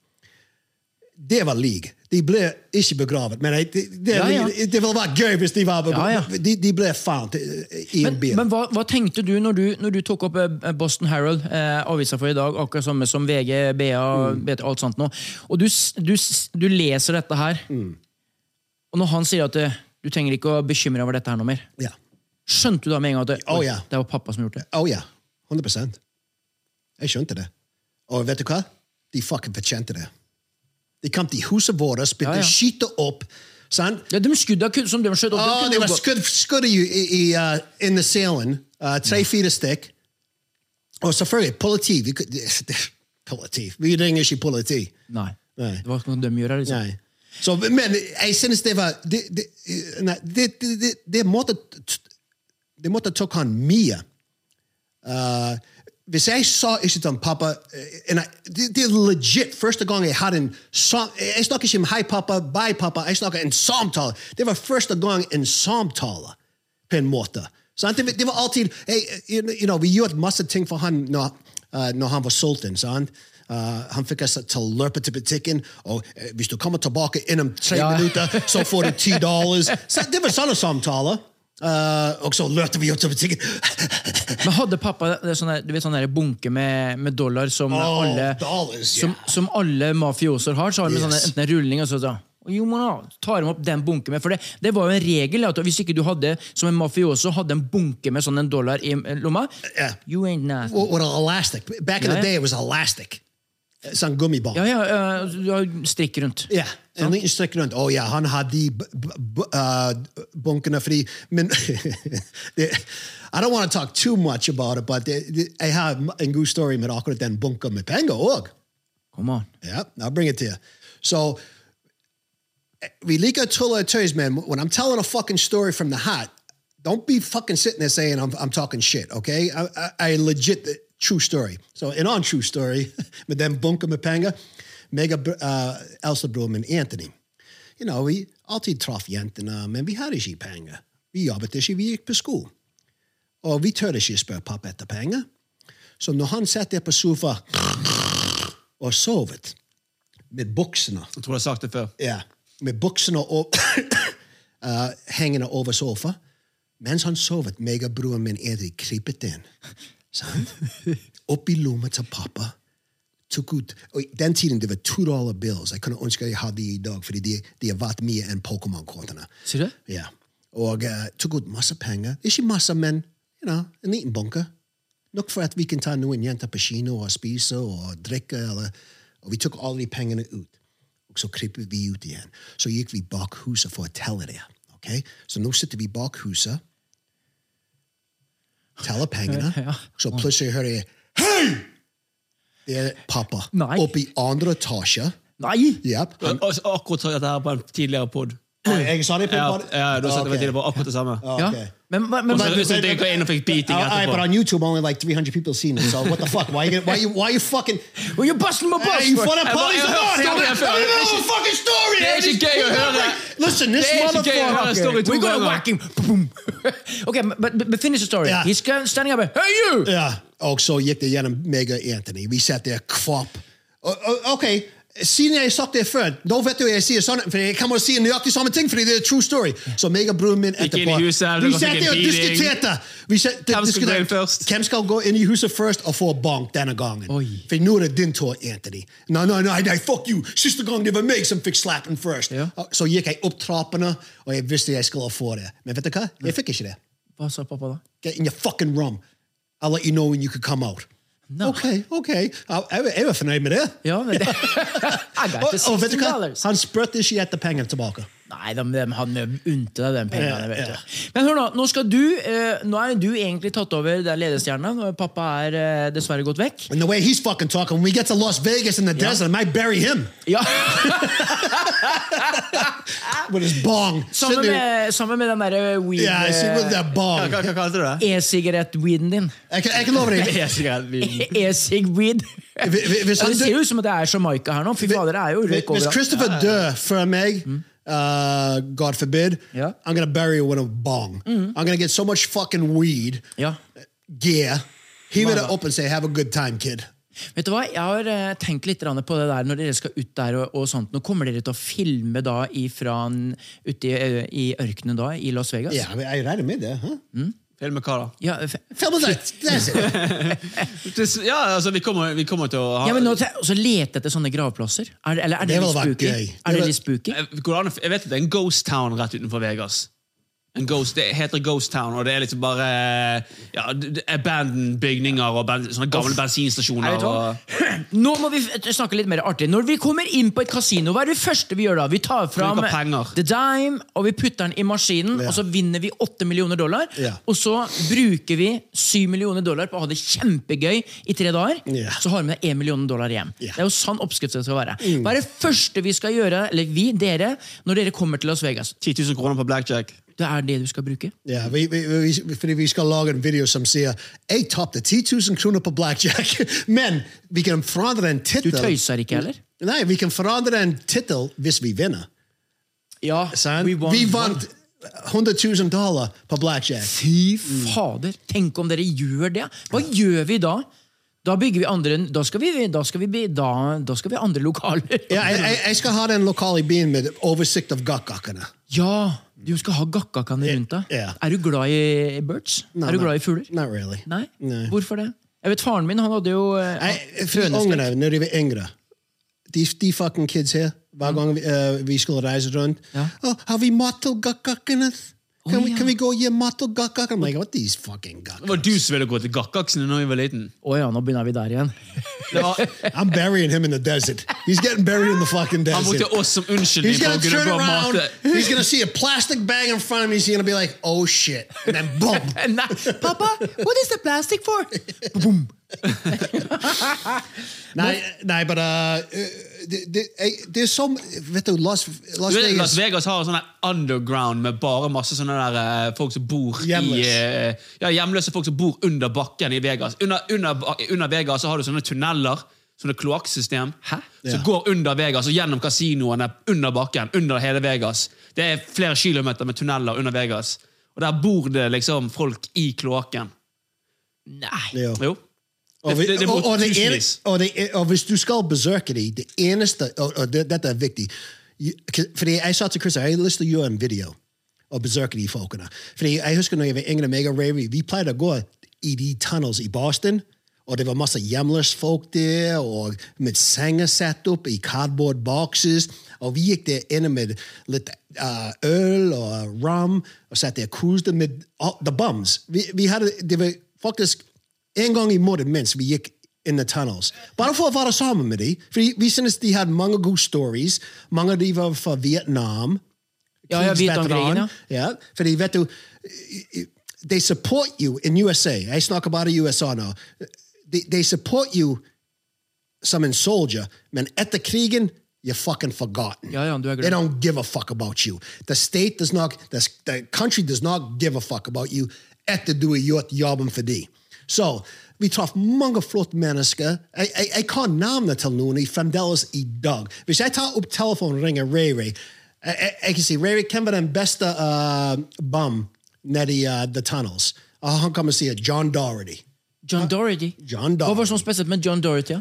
Speaker 1: det var lig. De ble ikke begravet, men jeg- det, det,
Speaker 2: Ja, ja.
Speaker 1: det ville vært gøy hvis de var
Speaker 2: Ja, ja.
Speaker 1: begravet. De, de ble fant i en
Speaker 2: Men,
Speaker 1: bil.
Speaker 2: men hva, hva tenkte du når du, når du tok opp eh, Boston Herald, eh, avisa for i dag, akkurat samme som VG,
Speaker 1: Hmm.
Speaker 2: BA, BT, alt sånt nå, og du, s- du, s- du leser dette her,
Speaker 6: Mm.
Speaker 2: og når han sier at eh, du trenger ikke å bekymre deg over dette her noe mer,
Speaker 1: ja.
Speaker 2: skjønte du da med en gang at det,
Speaker 1: Å,
Speaker 2: oi,
Speaker 1: ja.
Speaker 2: det var pappa som gjorde det?
Speaker 1: Oh ja, 100 Jeg skjønte det. Og vet du hva? De fucking fortjente det. De kom til huset vårt, spilte
Speaker 2: Ja, ja.
Speaker 1: skyte opp. sant?
Speaker 2: Ja, de skudda kun- som de skjøt opp, de
Speaker 1: Å,
Speaker 2: kunne
Speaker 1: det
Speaker 2: jo
Speaker 1: var
Speaker 2: gå-
Speaker 1: skudd, skudd i, i, i uh, in the ceiling. Uh, Tre-fire stikk. Og selvfølgelig politi. Vi, kunne- [LAUGHS] politi. Vi ringer ikke politi.
Speaker 2: Nei.
Speaker 1: Nei.
Speaker 2: Det var ikke noe de gjorde, liksom.
Speaker 1: Nei. Så, men jeg synes det var Det, det, nei, det, det, det, det måtte Det måtte tok han mye. Eh, hvis jeg sa ikke til han, pappa eh, and I, det, det er legit første gang jeg hadde en sam, eh, Jeg snakker ikke om hei, pappa, bye, pappa. Jeg snakker en samtale. Det var første gang en samtale, på en måte. Sant? det, det var alltid hey, eh, you, know- you know, Vi gjorde masse ting for han når, eh, når han var sulten. sant? Eh, han fikk oss til å løpe til butikken, og eh, hvis du kommer tilbake innom tre
Speaker 2: Ja.
Speaker 1: minutter, så får du ti dollar. Så Det var sånne samtaler. Eh, og så løpte vi jo til butikken.
Speaker 2: Men hadde pappa det sånne, du vet, sånne der bunke med, med dollar som
Speaker 1: Oh,
Speaker 2: alle
Speaker 1: dollars,
Speaker 2: som,
Speaker 1: yeah.
Speaker 2: som alle mafioser har, så har de
Speaker 1: Yes.
Speaker 2: sånne, enten en rulling og så sånn jo, man har- tar de opp den bunken med For det, det var jo en regel at hvis ikke du hadde som en mafioso hadde en bunke med sånn en dollar i lomma
Speaker 1: Yeah.
Speaker 2: You ain't nothing.
Speaker 1: What, what an elastic. Back in
Speaker 2: Yeah.
Speaker 1: the day, it was elastic. It's on gummy ball.
Speaker 2: Ja, ja, eh, du har strikk rundt.
Speaker 1: sånn
Speaker 2: Sånn.
Speaker 1: Ja, en liten strikk rundt. Å ja, han har de b- b- b- uh, bunkene fri. Men [LAUGHS] det, I don't want to talk too much about it, but det, det, jeg har en god story med akkurat den bunken med penger òg.
Speaker 2: Come on.
Speaker 1: Yeah, I'll bring it to you. So we leak our Tula and toys, man. When I'm telling a fucking story from the hat, don't be fucking sitting there saying I'm, I'm talking shit, okay? I, I, I legit, uh, true story. So an on true story, [LAUGHS] but then Bunker Mapanga, Mega uh, Elsa Broom and Anthony. You know, we alltid traff jentene, men vi hadde ikke penger. Vi jobbet ikke, vi gikk på skolen. Og vi tør ikke spørre pappa etter penger. Så når han satt der på sofa [LAUGHS] og sovet med buksene
Speaker 3: Jeg tror jeg har sagt det før.
Speaker 1: ja, med buksene opp, [COUGHS] eh, hengende over sofa. Mens han sovet, meg og broren min Edrik krypet inn. Sant? Opp i lomma til pappa. tok ut og I den tiden det var to dollar bills. Jeg kunne ønske jeg hadde de i dag, fordi de, de har vært mye enn Pokémon-kortene.
Speaker 2: Sier du det?
Speaker 1: Ja. Og eh, tok ut masse penger. Ikke masse, men you know, en liten bunke. Nok for at vi kan ta noen jenter på kino og spise og drikke. Eller, og vi tok alle de pengene ut. Og så krypet vi ut igjen. Så gikk vi bak huset for å telle det. ok? Så nå sitter vi bak huset, teller pengene,
Speaker 2: Ja.
Speaker 1: så plutselig hører jeg Hei! Det er pappa.
Speaker 2: Nei.
Speaker 1: Oppe i andre etasje.
Speaker 2: Nei!
Speaker 1: Yep. Han,
Speaker 3: Og- og- og Akkurat sa jeg dette her på en tidligere pod.
Speaker 1: jeg sa det på
Speaker 3: Ja, ja, du har sett det på
Speaker 1: Ok.
Speaker 3: en tidligere pod. Akkurat det samme.
Speaker 2: Ja.
Speaker 1: Ok.
Speaker 2: Men, men, men,
Speaker 3: Og så så jeg inn og fikk beating
Speaker 1: All right, but
Speaker 3: etterpå.
Speaker 1: on YouTube, only like 300 people seen it. So what the fuck? Why you? Why you? Why you fucking?
Speaker 2: Well, you're busting my balls
Speaker 1: Hey, you
Speaker 2: for-
Speaker 1: fucking
Speaker 3: Hey, but
Speaker 1: police
Speaker 3: you heard
Speaker 1: are
Speaker 3: story
Speaker 1: on
Speaker 3: after-
Speaker 1: Tell me the whole
Speaker 3: it's-
Speaker 1: fucking story.
Speaker 3: they
Speaker 1: man.
Speaker 3: actually gave her that.
Speaker 1: Listen, this
Speaker 3: They actually gave her that story
Speaker 1: motherfucker.
Speaker 3: too.
Speaker 2: We're gonna
Speaker 3: Whoever.
Speaker 2: whack him. Boom. [LAUGHS] okay, but, but, but finish the story.
Speaker 1: Yeah.
Speaker 2: He's ca- standing up. and, Hey you!
Speaker 1: Ja, og så gikk det gjennom meg og Anthony. Vi satt der kvapp. Og- og- Ok, siden jeg har sagt det før, da vet du jeg sier sånn, for jeg kommer til å si nøyaktig samme ting, fordi det er true story. Så meg og broren min
Speaker 3: Gikk inn i
Speaker 1: etterpå,
Speaker 3: huset, dere
Speaker 1: vi
Speaker 3: fikk
Speaker 1: satt
Speaker 3: en
Speaker 1: der og
Speaker 3: beating.
Speaker 1: diskuterte. Vi satt-
Speaker 3: Hvem skal
Speaker 1: diskuterte-
Speaker 3: gå inn først?
Speaker 1: Hvem skal gå inn i huset først og få bank denne gangen?
Speaker 2: Oi.
Speaker 1: For nå er det din tur, Anthony. Nei, nei, nei, nei, fuck you. Siste gang det var meg som fikk slappen først.
Speaker 2: Ja.
Speaker 1: Så gikk jeg opp trappene, og jeg visste jeg skulle få det. Men vet du hva? Jeg fikk ikke det.
Speaker 2: Hva sa pappa da?
Speaker 1: get in your fucking room. I'll let you know when you could come out.
Speaker 2: No.
Speaker 1: Okay, okay. Uh, Jeg, jeg, jeg var fornøyd med det.
Speaker 2: Ja, men det, [LAUGHS] I got
Speaker 1: Og,
Speaker 2: the
Speaker 1: og Oh, vet du
Speaker 2: 16
Speaker 1: hva?
Speaker 2: dollars.
Speaker 1: Han spurte ikke etter pengene tilbake.
Speaker 2: Nei, de, de, han unnte deg den pengene.
Speaker 1: Ja,
Speaker 2: vet
Speaker 1: ja.
Speaker 2: du. Men hør nå, nå skal du eh, Nå er du egentlig tatt over der ledestjerna. Nå er Pappa er eh, dessverre gått vekk.
Speaker 1: And the way he's fucking talking, when we get to Las Vegas in the desert, I might bury him
Speaker 2: Ja,
Speaker 1: [LAUGHS] with his bong.
Speaker 2: Sammen
Speaker 1: Sitting there-
Speaker 2: med, sammen med den derre weed
Speaker 1: Yeah, I see with
Speaker 2: eh,
Speaker 1: that bong.
Speaker 3: Hva hva kalte du det?
Speaker 2: E-sigarett-weeden din.
Speaker 1: Jeg kan, jeg kan love
Speaker 3: [LAUGHS]
Speaker 1: deg.
Speaker 2: [LAUGHS] E-sig-weed. Ja,
Speaker 1: Hvis- hvis- hvis han
Speaker 2: Det ser
Speaker 1: dør-
Speaker 2: jo ut som at det er Jamaica her nå. Fy fader, det er jo røyk
Speaker 1: Hvis
Speaker 2: overalt.
Speaker 1: Christopher dør før meg, uh, God forbid,
Speaker 2: Mm. Ja. Mm.
Speaker 1: I'm gonna bury him with a bong. I'm gonna get so much fucking weed,
Speaker 2: Ja.
Speaker 1: gear, he would up and say, have a good time, kid.
Speaker 2: Vet du hva, Jeg har eh, tenkt litt grann på det der når dere skal ut der. og, og sånt. Nå Kommer dere til å filme da ifra, en- ute i, ø, i ørkenen da, i Las Vegas?
Speaker 1: Ja, men jeg regner med det. Huh?
Speaker 3: Film med hva da?
Speaker 2: Ja, f-
Speaker 1: Tell me that. That's it.
Speaker 3: Det- Ja, altså, vi kommer, vi kommer til å ha
Speaker 2: ja, men nå te- og så Lete etter sånne gravplasser? Er, det- eller er det,
Speaker 1: Det ville
Speaker 2: litt
Speaker 1: vært
Speaker 2: spooky? Er
Speaker 1: gøy. Det
Speaker 2: det
Speaker 1: vil-
Speaker 2: litt spooky?
Speaker 3: Eh, går det an å- Jeg vet at det er en ghost town rett utenfor Vegas. En ghost, det heter Ghost Town, og det er liksom bare eh, ja, d- d- abandoned bygninger og ben, sånne gamle
Speaker 2: Jeg vet
Speaker 3: bensinstasjoner.
Speaker 2: hva.
Speaker 3: Og,
Speaker 2: Nå må vi f- snakke litt mer artig. Når vi kommer inn på et kasino, hva er det første vi gjør da? Vi tar fram
Speaker 3: Bruker penger.
Speaker 2: the dime, og vi putter den i maskinen,
Speaker 1: Ja.
Speaker 2: og så vinner vi 8 millioner dollar.
Speaker 1: Ja.
Speaker 2: Og så bruker vi 7 millioner dollar på å ha det kjempegøy i tre dager.
Speaker 1: Ja.
Speaker 2: Så har vi med deg 1 million dollar hjem.
Speaker 1: Ja.
Speaker 2: Det er jo sånn oppskrift det skal være.
Speaker 3: Mm.
Speaker 2: Hva er det første vi skal gjøre, eller vi, dere, når dere kommer til Las Vegas?
Speaker 3: 10 000 kroner på blackjack.
Speaker 2: Det er det du skal bruke.
Speaker 1: Ja, vi, vi, vi, fordi vi skal lage en video som sier jeg tapte 10 000 kroner på blackjack, [LAUGHS] men vi kan forandre en
Speaker 2: Du
Speaker 1: tittel.
Speaker 2: tøyser ikke, heller?
Speaker 1: Nei, vi kan forandre en tittel hvis vi vinner.
Speaker 2: Ja,
Speaker 1: sant? vi vant 100 000 dollar på blackjack.
Speaker 2: Fy fader! Tenk om dere gjør det! Hva gjør vi da? Da bygger vi andre Da skal vi, da skal vi, by- da, da skal vi ha andre lokaler.
Speaker 1: Ja, jeg, jeg, jeg skal ha den lokale i byen med oversikt av gakkakkene.
Speaker 2: Ja, Du skal ha gakkakene rundt deg.
Speaker 1: Ja.
Speaker 2: Er du glad i birds? er du glad i fugler?
Speaker 1: Not really.
Speaker 2: Nei?
Speaker 1: Nei.
Speaker 2: Hvorfor det? Jeg vet Faren min han hadde jo eh,
Speaker 1: Jeg, for
Speaker 2: høneskrekk.
Speaker 1: ungene, når de var yngre de, de fucking kids her, hver gang vi, eh, vi skulle reise rundt
Speaker 2: Mm. Ja.
Speaker 1: oh, 'Har vi mat til gakkakkene? Kan,
Speaker 2: Å,
Speaker 1: vi-
Speaker 2: ja.
Speaker 1: kan vi gå og gi mat til gakkakkene?' I'm like, what these fucking
Speaker 3: Det
Speaker 1: gakkakkene?
Speaker 3: var du som ville gå til Gakkaksene da vi var liten.
Speaker 2: Å ja, nå begynner vi der igjen.
Speaker 3: Det var,
Speaker 1: I'm burying him in the desert. He's getting buried in the fucking
Speaker 3: han
Speaker 1: desert.
Speaker 3: brukte oss som unnskyldning
Speaker 1: He's
Speaker 3: for
Speaker 1: gonna
Speaker 3: å kunne
Speaker 1: turn
Speaker 3: gå og
Speaker 1: around.
Speaker 3: mate.
Speaker 1: He's gonna see a plastic bag in front of me. He's gonna be like, "Oh shit!" And then boom.
Speaker 2: Nei, pappa, what is the plastic for? Boom.
Speaker 1: nei, nei, but uh, det, det, jeg- det er som Vet du, Las, Las
Speaker 3: Du vet,
Speaker 1: Vegas
Speaker 3: Las Vegas har en sånn her underground med bare masse sånne der eh, folk som bor
Speaker 1: Hjemløs.
Speaker 3: i eh, Ja, hjemløse folk som bor under bakken i Vegas. Under, under, ba- under Vegas så har du sånne tunneler, sånne kloakksystem, som
Speaker 1: Ja.
Speaker 3: går under Vegas og gjennom kasinoene, under bakken, under hele Vegas. Det er flere kilometer med tunneler under Vegas. Og der bor det liksom folk i kloakken.
Speaker 2: Nei.
Speaker 1: Ja.
Speaker 3: Jo.
Speaker 1: Og, vi,
Speaker 3: Det- det- det må
Speaker 1: og, og, det ene,
Speaker 3: tusenvis.
Speaker 1: og, det, e- og hvis du skal besøke dem, det eneste og, og det, Dette er viktig. Je- k- Fordi jeg sa til Chris jeg har lyst til å gjøre en video og besøke de folkene. Fordi jeg husker når jeg var yngre, meg og Ravy, vi pleide å gå i de tunnels i Boston.
Speaker 6: Og det var masse hjemløse folk der, og med senger satt opp i cardboard boxes. Og vi gikk der inne med litt eh, øl og rom, og satt der og cruiset med all- the bums. Vi, vi hadde, det var faktisk en gang i måneden mens vi gikk in the tunnels. Bare for å være sammen med dem. For vi synes de hadde mange gode stories. Mange av de var fra Vietnam.
Speaker 2: Ja, ja,
Speaker 6: krigsveteran.
Speaker 2: Vietnamkrigen, ja.
Speaker 6: Ja, fordi vet du, they support you in USA. Jeg snakker bare USA nå. They, they support you som en soldier, men etter krigen, you're fucking forgotten.
Speaker 2: Ja, ja, du er glad.
Speaker 6: They don't give a fuck about you. The state does not, the, the country does not give a fuck about you etter du har gjort jobben for de. Så vi traff mange flotte mennesker. Jeg, jeg, jeg kan navnet til noen i- fremdeles i dag. Hvis jeg tar opp telefonen og ringer Ray Ray, jeg, jeg, jeg kan si Ray Ray hvem var den beste uh, bum nede i uh, The Tunnels? Og han kommer og sier John Doherty.
Speaker 2: John Dorothy.
Speaker 6: John
Speaker 2: Hva var det
Speaker 6: Doherty.
Speaker 2: som var spesielt med John Dorothy? Ja?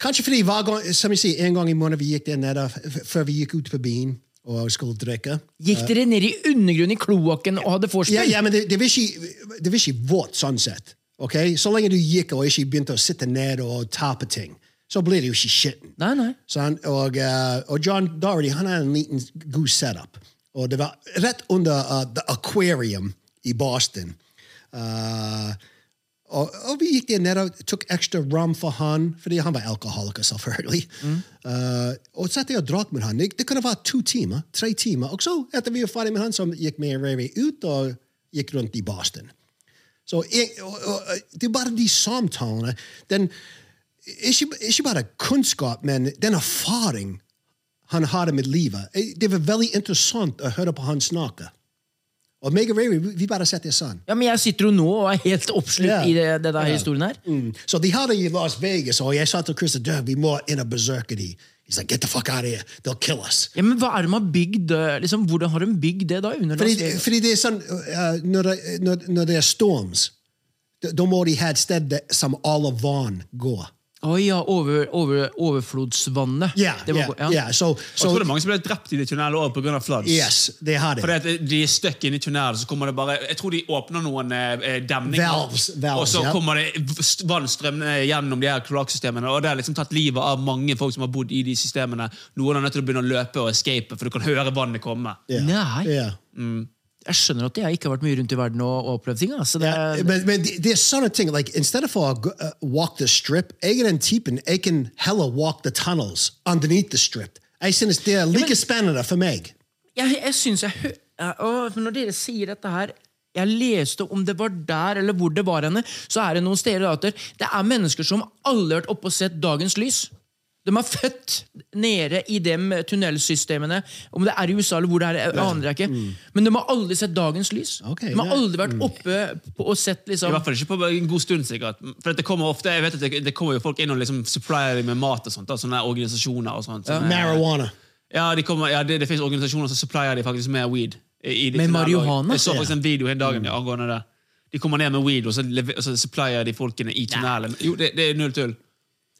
Speaker 6: Kanskje fordi hver gang, som jeg sier, en gang i måneden vi gikk der nede f- f- før vi gikk ut på byen og skulle drikke.
Speaker 2: Gikk dere ned i undergrunnen i kloakken og hadde vorspiel?
Speaker 6: Ja, ja, men det, det, var ikke, det var ikke vårt sånn sett. ok? Så lenge du gikk og ikke begynte å sitte ned og ta på ting, så blir det jo ikke skitten.
Speaker 2: Nei, nei.
Speaker 6: Sånn, og, eh, og John Doherty han hadde en liten god setup. Og det var rett under eh, The Aquarium i Boston. Eh, og, og vi gikk der nede og tok ekstra rom for han, fordi han var alkoholiker, selvfølgelig. Eh, og satt jeg og drakk med han. Det, det kunne være to timer, tre timer. Og så, etter vi var ferdig med han, så gikk vi Rary ut og gikk rundt i Boston. Så jeg, og, og, det er bare de samtalene. Den, ikke, ikke bare kunnskap, men den erfaring han hadde med livet. Eh, Det var veldig interessant å høre på han snakke. Og meg og Ray, vi vi bare setter sånn.
Speaker 2: Ja, men jeg sitter jo nå og er helt oppslukt
Speaker 6: Ja.
Speaker 2: i det, det der historien her.
Speaker 6: Så de hadde i Las Vegas, og jeg sa til Chris at "Dude, vi må inn og berserke de. He's like, get the fuck out of here. They'll kill us.
Speaker 2: Ja, men hva er det man har bygd? eh, Liksom, hvordan har de bygd det da? Under Las
Speaker 6: Fordi,
Speaker 2: Vegas?
Speaker 6: fordi det er sånn, uh, når, det, når, når det er storms, da- da må de ha et sted der- som alle vann går.
Speaker 2: Å ja, over, over, overflodsvannet.
Speaker 6: Ja,
Speaker 2: Det var
Speaker 6: ja,
Speaker 2: go-
Speaker 6: ja. så,
Speaker 1: Jeg tror
Speaker 6: så
Speaker 1: det er mange som ble drept i de tunnelene også på grunn av floods.
Speaker 6: Yes, det har det.
Speaker 1: Fordi at de er stuck inne i tunnelen, så kommer det bare Jeg tror de åpner noen eh, demninger.
Speaker 6: Valves, valves,
Speaker 1: og så
Speaker 6: ja.
Speaker 1: kommer det v- st- vann strømmende gjennom de her kloakksystemene. Og det har liksom tatt livet av mange folk som har bodd i de systemene. Noen er nødt til å begynne å løpe og escape, for du kan høre vannet komme.
Speaker 6: Ja,
Speaker 2: Nei.
Speaker 6: ja.
Speaker 3: Mm.
Speaker 2: Jeg skjønner at jeg ikke har vært mye rundt i verden og, og opplevd ting. Altså, det,
Speaker 6: Yeah, but, but there's sort of thing like instead of uh, go- uh, walk the strip, Egan and Teepin, they can hella walk the tunnels underneath the strip. I seen it's there, Lika Spanada er for Meg.
Speaker 2: jeg, jeg synes jeg hø- ja, og Når dere sier dette her Jeg leste om det var der eller hvor det var henne, så er det noen steder at det- det er mennesker som aldri har vært oppe og sett dagens lys. De er født nede i de tunnelsystemene, om det er i USA eller hvor det er. jeg aner jeg ikke. Men de har aldri sett dagens lys.
Speaker 6: Ok,
Speaker 2: de har
Speaker 6: det-
Speaker 2: aldri vært oppe på, og sett liksom,
Speaker 1: I hvert fall ikke på en god stund, sikkert. For at det kommer ofte, jeg vet at det, det kommer jo folk inn og liksom supplier dem med mat og sånt. Da, sånne organisasjoner og sånt. Sånne-
Speaker 6: Marijuana.
Speaker 1: Ja, de kommer, ja det, det finnes organisasjoner som supplier de faktisk med weed. i- i de
Speaker 2: Med
Speaker 1: tunneler.
Speaker 2: marihuana?
Speaker 1: Jeg så faktisk en video hele dagen ja, angående det. De kommer ned med weed, og så, lever- og så supplier de folkene i tunnelen. Jo, det, det er null tull.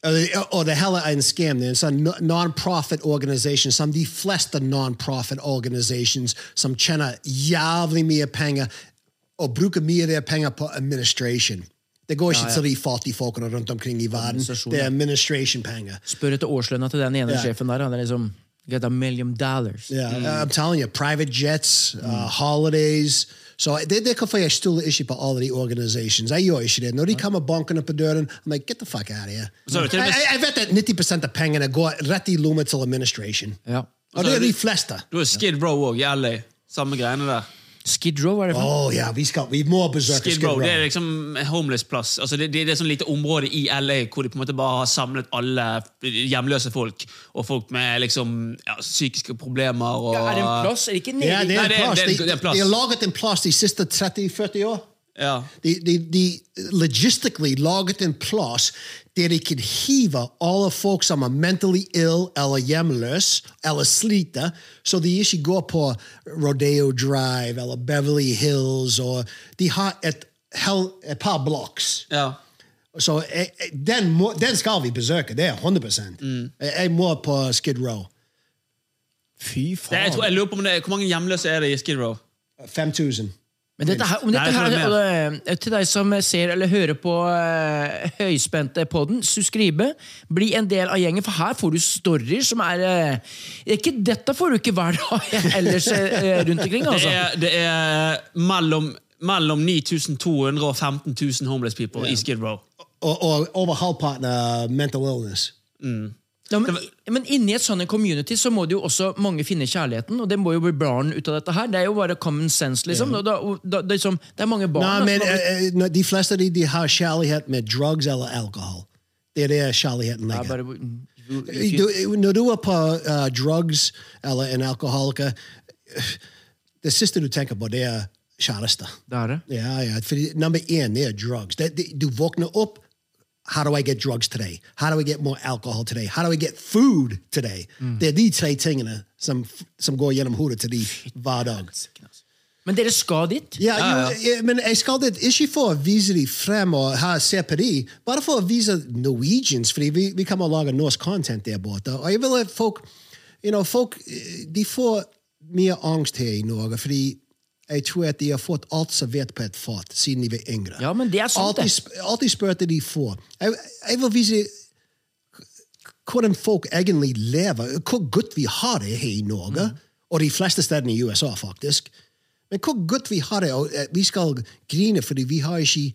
Speaker 6: Or the, or the hella and scam there. It's a no- non-profit organization. Some de flesta non-profit organizations. Some chena yavli mia penga or bruka mia their penga på administration. Det går ikke til de fattige folkene rundt omkring i verden. Det er administration penger.
Speaker 2: Spør etter årslønna til den ene
Speaker 6: Ja.
Speaker 2: sjefen der. Han er liksom Get a million dollars.
Speaker 6: Yeah,
Speaker 1: Mm.
Speaker 6: I'm telling you, private jets, uh, holidays. So they, they could play a stool issue uh, for all of the organizations. I your issue there. No, they come a bunking up a dirt and I'm like, get the fuck out of here.
Speaker 1: So
Speaker 6: I,
Speaker 1: it was-
Speaker 6: I, I bet that 90% of pengen go retti lumetal administration.
Speaker 2: Ja.
Speaker 6: Oh, they're the flesta.
Speaker 1: Altså, Du har Skid Row òg i LA. Samme greiene der.
Speaker 2: Skid Row, hva er det for?
Speaker 6: Oh, yeah, we've got we've more berserkers.
Speaker 1: Skid Row, Det er liksom en homeless plass. Altså det, det, det er sånn lite område i LA hvor de på en måte bare har samlet alle hjemløse folk. Og folk med liksom ja, psykiske problemer og
Speaker 2: Er det en plass? Er det ikke nede
Speaker 6: Yeah,
Speaker 2: i-
Speaker 6: they're
Speaker 1: Nei, det er-
Speaker 6: plus.
Speaker 1: det er-
Speaker 6: They,
Speaker 1: det er en plass.
Speaker 6: they laget in plus de siste 30-40 år.
Speaker 1: Ja.
Speaker 6: The, the, the logistically laget in plus der de kan hive alle folk som er mentally ill eller hjemløs eller sliter, så de ikke går på Rodeo Drive eller Beverly Hills. Or, de har et, hel, et par blocks.
Speaker 1: ja.
Speaker 6: Så eh, eh, den, må, den skal vi besøke, det er 100
Speaker 1: Mm.
Speaker 6: Jeg, jeg må på Skid Row.
Speaker 2: Fy
Speaker 1: er Det, jeg, tror, jeg lurer på om det, Hvor mange hjemløse er det i Skid Row?
Speaker 6: 5000.
Speaker 1: Men dette her, om dette
Speaker 2: Nei, jeg
Speaker 1: her
Speaker 2: tror
Speaker 1: alle- Til deg som ser eller hører på uh, høyspente podden, subscribe. Bli en del av gjengen, for her får du storyer som er eh, ikke, Dette får du ikke hver dag [LAUGHS] ellers eh, rundt omkring.
Speaker 2: Det
Speaker 1: altså.
Speaker 2: er, det er mellom, mellom 9200 og 15 000 homeless people i Skid Row.
Speaker 6: Og, og over halvparten av mental illness.
Speaker 1: Ja, men, men inni et sånn en community så må det jo også mange finne kjærligheten, og det må jo bli barn ut av dette her. Det er jo bare common sense, liksom. Og Da, og da, det, er som, det er mange barn.
Speaker 6: Nei,
Speaker 1: da,
Speaker 6: men
Speaker 1: som har blitt-
Speaker 6: eh, eh, nei, De fleste de, de har kjærlighet med drugs eller alkohol. Det er det kjærligheten
Speaker 1: Ja,
Speaker 6: ligger.
Speaker 1: bare,
Speaker 6: Du, når du er på eh, drugs eller en alkoholiker, det siste du tenker på, det er kjæreste.
Speaker 1: det er det.
Speaker 6: Ja, ja. Fordi nummer én det er drugs. Det, det, du våkner opp How do I get drugs today? How do I get more alcohol today? How do I get food today? Det er de tre tingene som, som går gjennom hodet til de hver dag.
Speaker 1: Men dere skal dit?
Speaker 6: altså. Ja, jo, eh, men jeg skal det ikke for å vise de frem og ha se på de, bare for å vise Norwegians, fordi vi, vi kommer å lage norsk content der borte. Og jeg vil at folk, you know, folk eh, de får mye angst her i Norge, fordi jeg tror at de har fått alt servert på et fat siden de var yngre.
Speaker 1: Ja, men det er sant,
Speaker 6: alt, de,
Speaker 1: Sånn, det.
Speaker 6: sp- alt de spør etter de får. Jeg, jeg vil vise hvordan folk egentlig lever, hvor godt vi har det her i Norge, og de fleste stedene i USA, faktisk. Men hvor godt vi har
Speaker 1: Mm.
Speaker 6: det, og eh, vi skal grine fordi vi har ikke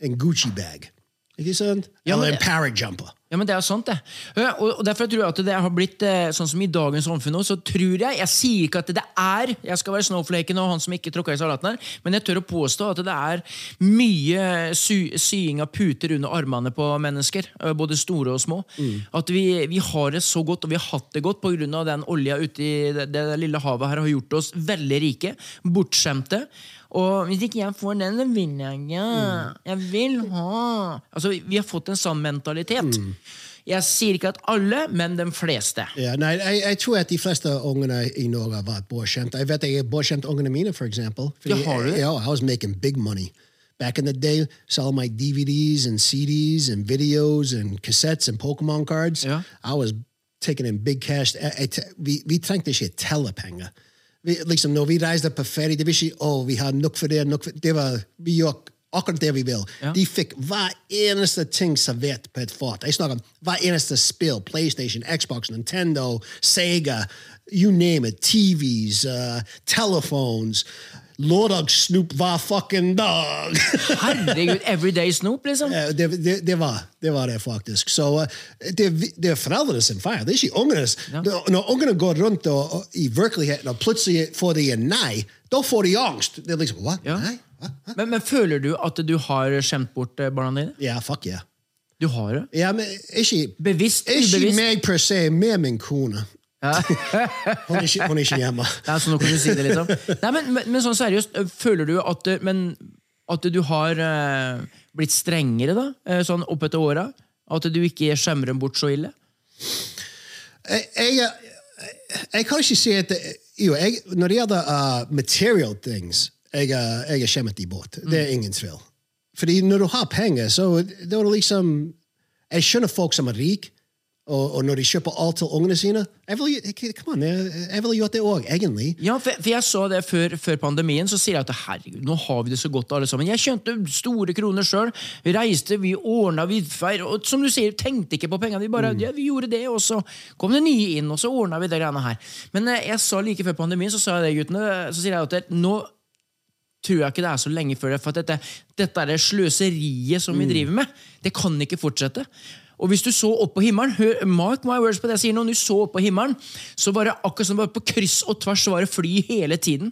Speaker 6: en Gucci-bag. Ikke sant?
Speaker 1: men-
Speaker 6: Eller en parajumper.
Speaker 1: Ja, men det er sant, det. Hø, Og og derfor tror jeg at det har blitt eh, sånn som i dagens samfunn nå, så tror jeg Jeg sier ikke at det er Jeg skal være snowflaken og han som ikke tråkka i salaten her, men jeg tør å påstå at det er mye sy sying av puter under armene på mennesker. eh, Både store og små. At vi, vi har det så godt, og vi har hatt det godt pga. den olja ute i det, det lille havet her har gjort oss veldig rike. Bortskjemte. Og hvis ikke jeg får den, så vil jeg ikke.
Speaker 6: Mm.
Speaker 1: Jeg vil ha Altså, Vi har fått en sånn mentalitet.
Speaker 6: Mm.
Speaker 1: Jeg sier ikke at alle, men de fleste.
Speaker 6: Ja, nei, jeg, jeg tror at de fleste ungene i Norge har vært bortskjemt. Jeg vet jeg er bortskjemt ungene mine, for eksempel. Fordi
Speaker 1: Ja, har du det?
Speaker 6: jeg- Ja, I was making big money. Back in the day, selling my DVDs and CDs and videos and cassettes and Pokemon cards.
Speaker 1: Ja.
Speaker 6: I was taking in big cash. Jeg, jeg, te- vi, vi trengte ikke tellepenger. Vi, liksom, når vi reiste på ferie, det var ikke oh, vi har nok for det, nok for det. var, Vi gjorde akkurat det vi vil. De fikk hver eneste ting servert på et fat. Jeg snakker om hver eneste spill. PlayStation, Xbox, Nintendo, Sega, you name it. TVs, uh, telephones. Lørdags-Snoop var fucking dag!
Speaker 1: Herregud, everyday snop, liksom.
Speaker 6: Eh, det, det, det, var, det var det faktisk. Så eh, det, det er foreldrene sin feil, det er ikke ungenes. Når, når ungene går rundt og, og, i virkeligheten og plutselig får de en nei, da får de angst. Det er liksom, hva?
Speaker 1: Ja.
Speaker 6: Nei? Hva? Hva?
Speaker 1: Men, men føler du at du har skjemt bort eh, barna dine?
Speaker 6: Ja, fuck yeah.
Speaker 1: Du har det.
Speaker 6: Ja, men ikke,
Speaker 1: Bevisst,
Speaker 6: ikke
Speaker 1: ubevisst.
Speaker 6: meg per se, mer min kone. [LAUGHS] hun, er ikke, hun er ikke hjemme.
Speaker 1: Ja, så nå kan du si det, liksom. Nei, men, men, men sånn seriøst, øh, føler du at, øh, men, at du har øh, blitt strengere da, øh, sånn opp etter åra? At du ikke skjemmer dem bort så ille?
Speaker 6: Jeg, jeg, jeg kan ikke si at det- jo, jeg, Når det gjelder uh, material things, jeg, uh, jeg er skjemmet i båt. Det er ingen tvil. Fordi når du har penger, så da er det liksom Jeg skjønner folk som er rike, og, og når de kjøper alt til ungene sine Jeg ville jeg- eh, come on, jeg, jeg ville gjort det òg, egentlig.
Speaker 1: Ja, for, for jeg så det før, før pandemien, så sier jeg at herregud, nå har vi det så godt alle sammen. Jeg tjente store kroner sjøl, vi reiste, vi ordna, vi feir, og som du sier, tenkte ikke på pengene. Vi bare, ja, vi gjorde det, og så kom det nye inn, og så ordna vi det greiene her. Men eh, jeg sa like før pandemien, så sa jeg det, guttene, så sier jeg at nå tror jeg ikke det er så lenge før det. For at dette, dette er det sløseriet som
Speaker 6: Mm.
Speaker 1: vi driver med. Det kan ikke fortsette. Og hvis du så opp på himmelen, hør, mark my words på det jeg sier nå, når du så opp på himmelen, så var det akkurat som bare på kryss og tvers så var det fly hele tiden.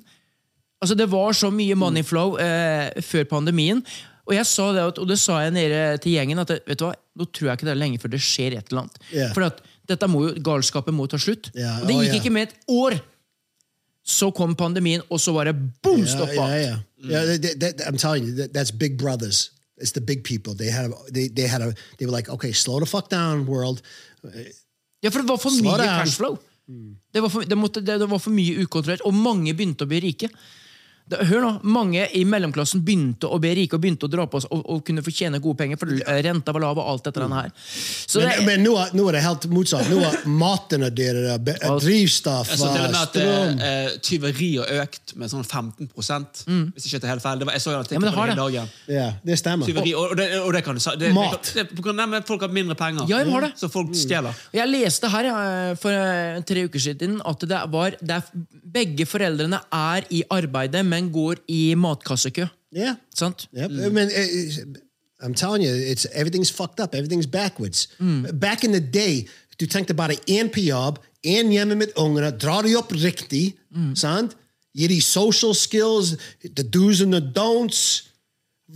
Speaker 1: Altså Det var så mye
Speaker 6: Mm.
Speaker 1: money flow eh, før pandemien. Og jeg sa det, at- og det sa jeg nede til gjengen at vet du hva, nå tror jeg ikke det er lenge før det skjer et eller annet.
Speaker 6: Ja.
Speaker 1: For at dette må jo, galskapen må ta slutt.
Speaker 6: Ja,
Speaker 1: og det
Speaker 6: å,
Speaker 1: gikk
Speaker 6: ja.
Speaker 1: ikke med et år! Så kom pandemien, og så var det bom stoppa!
Speaker 6: Yeah, yeah, yeah. yeah that, that, that- I'm telling you, that, that's big brothers. It's the big people. They had, a, they, they had a, they were like, okay, slow the fuck down, world.
Speaker 1: Ja, for det var for
Speaker 6: Slå
Speaker 1: mye
Speaker 6: det an. Mm.
Speaker 1: cashflow. Det var for, det, måtte, det, det var for mye ukontrollert, og mange begynte å bli rike. Da, hør nå, Mange i mellomklassen begynte å be rike og begynte å dra på oss og, og kunne fortjene gode penger, for eh, renta var lav og alt dette her. Så det,
Speaker 6: Mm. Men, men nå, er, nå er det helt motsatt. Nå er maten er dyrere, be- drivstoff
Speaker 2: Jeg så til og med
Speaker 6: eh,
Speaker 2: at
Speaker 6: strøm.
Speaker 2: eh, eh, tyveri har økt med sånn 15 Hvis ikke det er helt feil. Det var, jeg så en
Speaker 1: Mm. Ja,
Speaker 2: artikkel
Speaker 1: men det
Speaker 2: på
Speaker 1: har
Speaker 2: det hele
Speaker 1: det.
Speaker 2: dagen.
Speaker 6: Ja, det stemmer.
Speaker 2: Tyveri, og, og, det, og det kan du si. Det,
Speaker 6: Mat.
Speaker 2: Det, det, på grunn av at folk har mindre penger,
Speaker 1: Ja, de har det.
Speaker 2: så folk stjeler.
Speaker 6: Mm.
Speaker 1: Og Jeg leste her eh, for eh, tre uker siden at det var det er, begge foreldrene er i arbeidet, men går i matkassekø.
Speaker 6: Ja.
Speaker 1: Sant?
Speaker 6: Yep. I mean, it- I'm telling you, it's everything's fucked up. Everything's backwards. Back in the day, du tenkte bare én på jobb, én hjemme med ungene, drar de opp riktig, sant? Gir de social skills, the do's and the don'ts,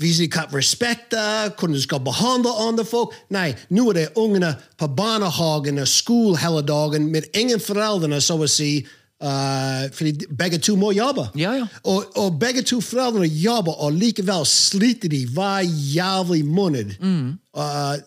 Speaker 6: viser de hva respekt er, hvordan du skal behandle andre folk. Nei, nå er det ungene på barnehagen og skole hele dagen med ingen foreldrene, så å si, eh, fordi begge to må jobbe.
Speaker 1: Ja, ja.
Speaker 6: Og, og begge to foreldrene jobber, og likevel sliter de hver jævlig måned uh,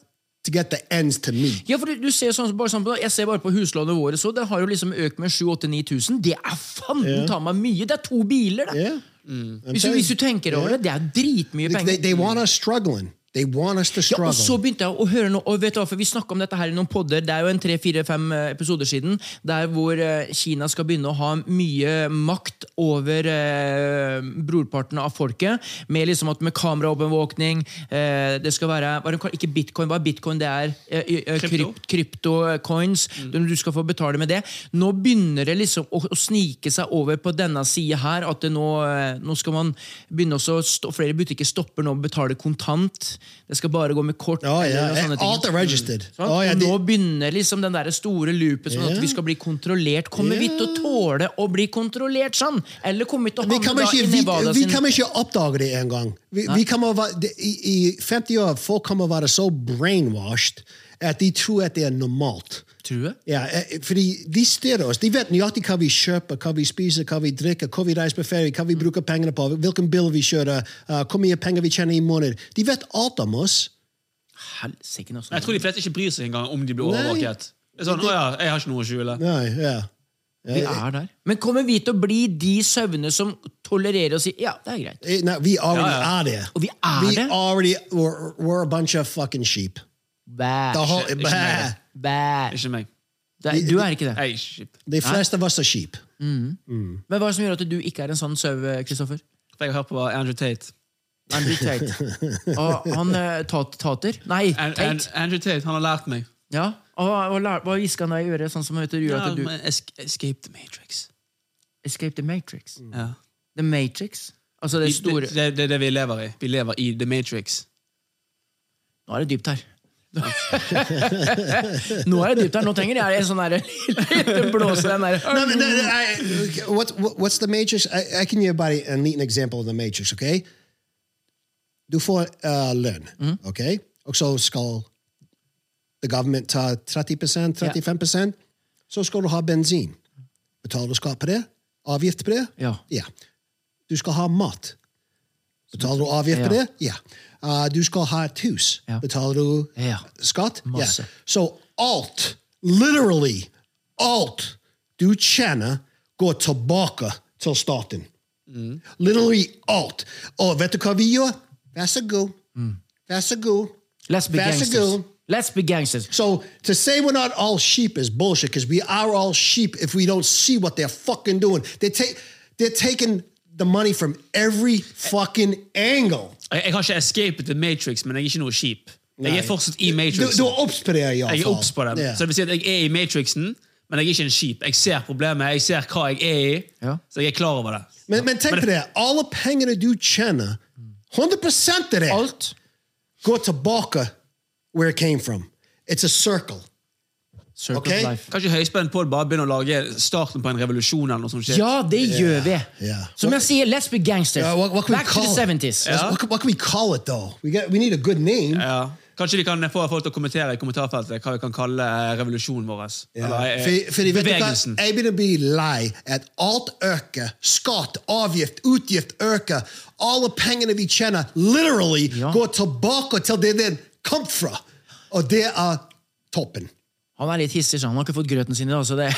Speaker 6: to get the ends to meet.
Speaker 1: Mm. Ja, for du, du ser sånn, bare sånn, på- Jeg ser bare på huslånet vårt, så det har jo liksom økt med 7000-9000. Det er fanden ta meg mye! Det er to biler, det!
Speaker 6: Yeah.
Speaker 1: Hvis, du, hvis du tenker over det, det er dritmye
Speaker 6: They,
Speaker 1: penger.
Speaker 6: they, they want us struggling. They want us to
Speaker 1: Ja,
Speaker 6: struggle.
Speaker 1: og så begynte jeg å høre noe, og vet du hva, for Vi snakka om dette her i noen podder, det er jo en tre-fire-fem eh, episoder siden, der hvor eh, Kina skal begynne å ha mye makt over eh, brorparten av folket. Med liksom at med kameraovervåkning eh, Det skal være hva er det kall- Ikke bitcoin, hva er bitcoin det er? Eh, eh,
Speaker 2: Krypto.
Speaker 1: krypt- Kryptocoins. Du- Du skal få betale med det. Nå begynner det liksom å, å snike seg over på denne sida her. At det nå, eh, nå skal man begynne også å stå, Flere butikker stopper nå å betale kontant. Det skal bare gå med kort.
Speaker 6: oh,
Speaker 1: eller noe
Speaker 6: yeah.
Speaker 1: sånne ting.
Speaker 6: Alt er registered.
Speaker 1: Sant?
Speaker 6: Oh, yeah.
Speaker 1: og nå
Speaker 6: de-
Speaker 1: begynner liksom den der store loopen sånn
Speaker 6: Ja.
Speaker 1: at vi skal bli kontrollert. Kommer vi til å tåle å bli kontrollert sånn? Eller kommer vi til å
Speaker 6: vi
Speaker 1: havne
Speaker 6: kommer
Speaker 1: da i
Speaker 6: ikke, vi,
Speaker 1: Nevada
Speaker 6: vi
Speaker 1: sin
Speaker 6: kommer ikke oppdage det engang. Vi, vi kommer å være- det- i, I 50 år folk kommer å være så brainwashed at de tror at det er normalt.
Speaker 1: true?
Speaker 6: Ja, eh, fordi de styrer oss. De vet nøyaktig hva vi kjøper, hva vi spiser, hva vi drikker, hvor vi reiser på ferie, hva
Speaker 1: Mm.
Speaker 6: vi bruker pengene på, hvilken bil vi kjører, eh, hvor mye penger vi tjener i måneden. De vet alt om oss.
Speaker 1: Helsike, altså.
Speaker 2: Jeg tror de fleste ikke bryr seg engang
Speaker 5: um
Speaker 2: om de blir
Speaker 6: Nei.
Speaker 2: overvåket. Det er sånn, å ja, jeg har ikke noe å skjule.
Speaker 6: Nei, ja.
Speaker 1: Vi er der. Men kommer vi til å bli de sauene som tolererer og sier ja, det er greit?
Speaker 6: Eh, Nei, vi already
Speaker 2: Ja,
Speaker 6: er det.
Speaker 1: Og vi er
Speaker 6: we
Speaker 1: det?
Speaker 6: Already, we're, we're a bunch of fucking sheep. The
Speaker 1: Bæ,
Speaker 6: whole,
Speaker 2: ikke meg.
Speaker 1: bæ.
Speaker 2: Ikke meg.
Speaker 1: Det er- Du er ikke det. Mm.
Speaker 2: Jeg, er ikke kjip.
Speaker 6: de fleste av oss er sheep. Mm.
Speaker 1: Men hva er det som gjør at du ikke er en sånn sau, Kristoffer?
Speaker 2: For jeg har hørt på Andrew Tate.
Speaker 1: Andrew Tate. Og han eh, tat, Tater? Nei,
Speaker 2: An, an,
Speaker 1: Tate.
Speaker 2: Andrew Tate, han har lært meg.
Speaker 1: Ja. Og hva- hva lær- hva hviska han deg i øret, sånn som heter gjør
Speaker 2: Ja,
Speaker 1: at du
Speaker 2: men es escape the Matrix.
Speaker 1: Escape the Matrix.
Speaker 6: Mm.
Speaker 2: Ja.
Speaker 1: The Matrix? Altså det
Speaker 2: Det,
Speaker 1: store
Speaker 2: det, det er det vi lever i. Vi lever i The Matrix.
Speaker 1: Nå er det dypt her. [LAUGHS] Nå er det dypt her. Nå trenger jeg en sånn derre [LAUGHS] liten blåse den der
Speaker 6: No, no, no, no, I, what, what, what's the matrix? I, I can give everybody a neat example of the matrix, okay? Du får uh, lønn,
Speaker 1: Mm-hmm.
Speaker 6: okay? Og så skal the government uh, ta 30 35 Så skal du ha bensin. Betaler du skatt på det? Avgift på det?
Speaker 1: Ja.
Speaker 6: Ja. Du skal ha mat. Betaler du avgift på
Speaker 1: Ja.
Speaker 6: det? Ja. Uh, du skal ha et hus.
Speaker 1: Ja.
Speaker 6: Betaler du
Speaker 1: Ja.
Speaker 6: skatt?
Speaker 1: Masse.
Speaker 6: Ja. So alt, literally alt du tjener, går tilbake til staten. Literally alt. Og vet du hva vi gjør? Vær så god. Vær så god.
Speaker 1: Let's be
Speaker 6: Vær så
Speaker 1: gangsters.
Speaker 6: god.
Speaker 1: Let's be gangsters.
Speaker 6: So to say we're not all sheep is bullshit because we are all sheep if we don't see what they're fucking doing. They take they're taking the money from every fucking angle.
Speaker 2: Jeg, jeg har ikke escaped the Matrix, men jeg er ikke noe kjip. Jeg er fortsatt i
Speaker 6: Du,
Speaker 2: Matrix.
Speaker 6: du er obs på det, i alle
Speaker 2: Jeg er
Speaker 6: fall.
Speaker 2: obs på dem.
Speaker 6: Ja.
Speaker 2: Så det vil si at jeg er i Matrixen, men jeg er ikke en skip. Jeg ser problemet, jeg ser hva jeg er i,
Speaker 1: Ja.
Speaker 2: så jeg er klar over det.
Speaker 6: Men, men tenk på det. Alle pengene du tjener, 100 av det
Speaker 1: Alt.
Speaker 6: går tilbake where it came from. It's a circle.
Speaker 1: Circle
Speaker 6: Okay.
Speaker 1: of life.
Speaker 2: Kanskje Høyspent Pål bare begynner å lage starten på en revolusjon eller noe sånt shit.
Speaker 1: Ja, det gjør vi.
Speaker 6: yeah.
Speaker 1: Som jeg sier, let's be gangsters.
Speaker 6: Uh, what, what can
Speaker 1: Back
Speaker 6: we
Speaker 1: to
Speaker 6: call
Speaker 1: the
Speaker 6: it?
Speaker 1: 70s.
Speaker 6: What- What, can- what can we call it, though? We, got, we need a good name.
Speaker 2: Ja. Kanskje de kan få folk til å kommentere i kommentarfeltet hva vi kan kalle eh, revolusjonen vår. Eller, eh,
Speaker 6: For, for de vet du hva?
Speaker 2: bevegelsen.
Speaker 6: Jeg begynner å bli lei at alt øker. Skatt, avgift, utgift øker. Alle pengene vi tjener, literally går tilbake til det den kom fra. Og det er toppen.
Speaker 1: Han er litt hissig, så han har ikke fått grøten sin i dag. Så det.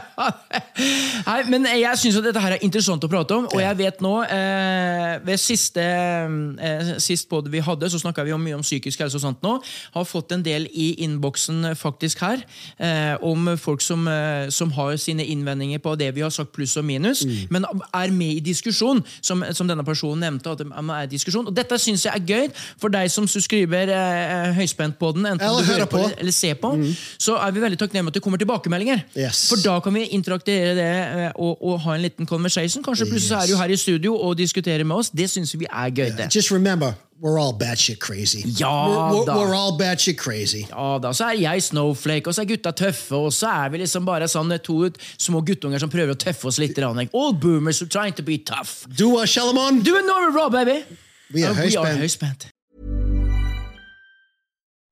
Speaker 1: [LAUGHS] Nei, men jeg syns dette her er interessant å prate om, og jeg vet nå eh, Ved siste eh, sist podd vi hadde, så snakka vi om, mye om psykisk helse og sånt nå. Har fått en del i innboksen faktisk her eh, om folk som, eh, som har sine innvendinger på det vi har sagt, pluss og minus,
Speaker 8: Mm.
Speaker 1: men er med i diskusjon, som, som denne personen nevnte. at man er i diskusjon, Og dette syns jeg er gøy for deg som subscriber eh, høyspent på den. enten
Speaker 8: Eller
Speaker 1: du
Speaker 8: hører
Speaker 1: hører på,
Speaker 8: på. Mm.
Speaker 1: eller- eller se på, så er vi veldig takknemlige at det kommer tilbakemeldinger.
Speaker 8: Yes.
Speaker 1: For da kan vi interaktere det eh, og, og ha en liten conversation. Kanskje plutselig så er du her i studio og diskuterer med oss. Det syns vi er gøy. det.
Speaker 8: Just remember, we're all batshit crazy.
Speaker 1: Ja,
Speaker 8: we're, we're,
Speaker 1: da.
Speaker 8: we're all batshit crazy.
Speaker 1: Ja da, Så er jeg snowflake, og så er gutta tøffe, og så er vi liksom bare sånn to små guttunger som prøver å tøffe oss litt. grann. Like, All boomers are trying to be tough.
Speaker 8: Do us, Shalimon.
Speaker 1: Do it normal, raw, baby!
Speaker 8: We are
Speaker 1: And we are
Speaker 8: Høyspent.
Speaker 1: høyspent.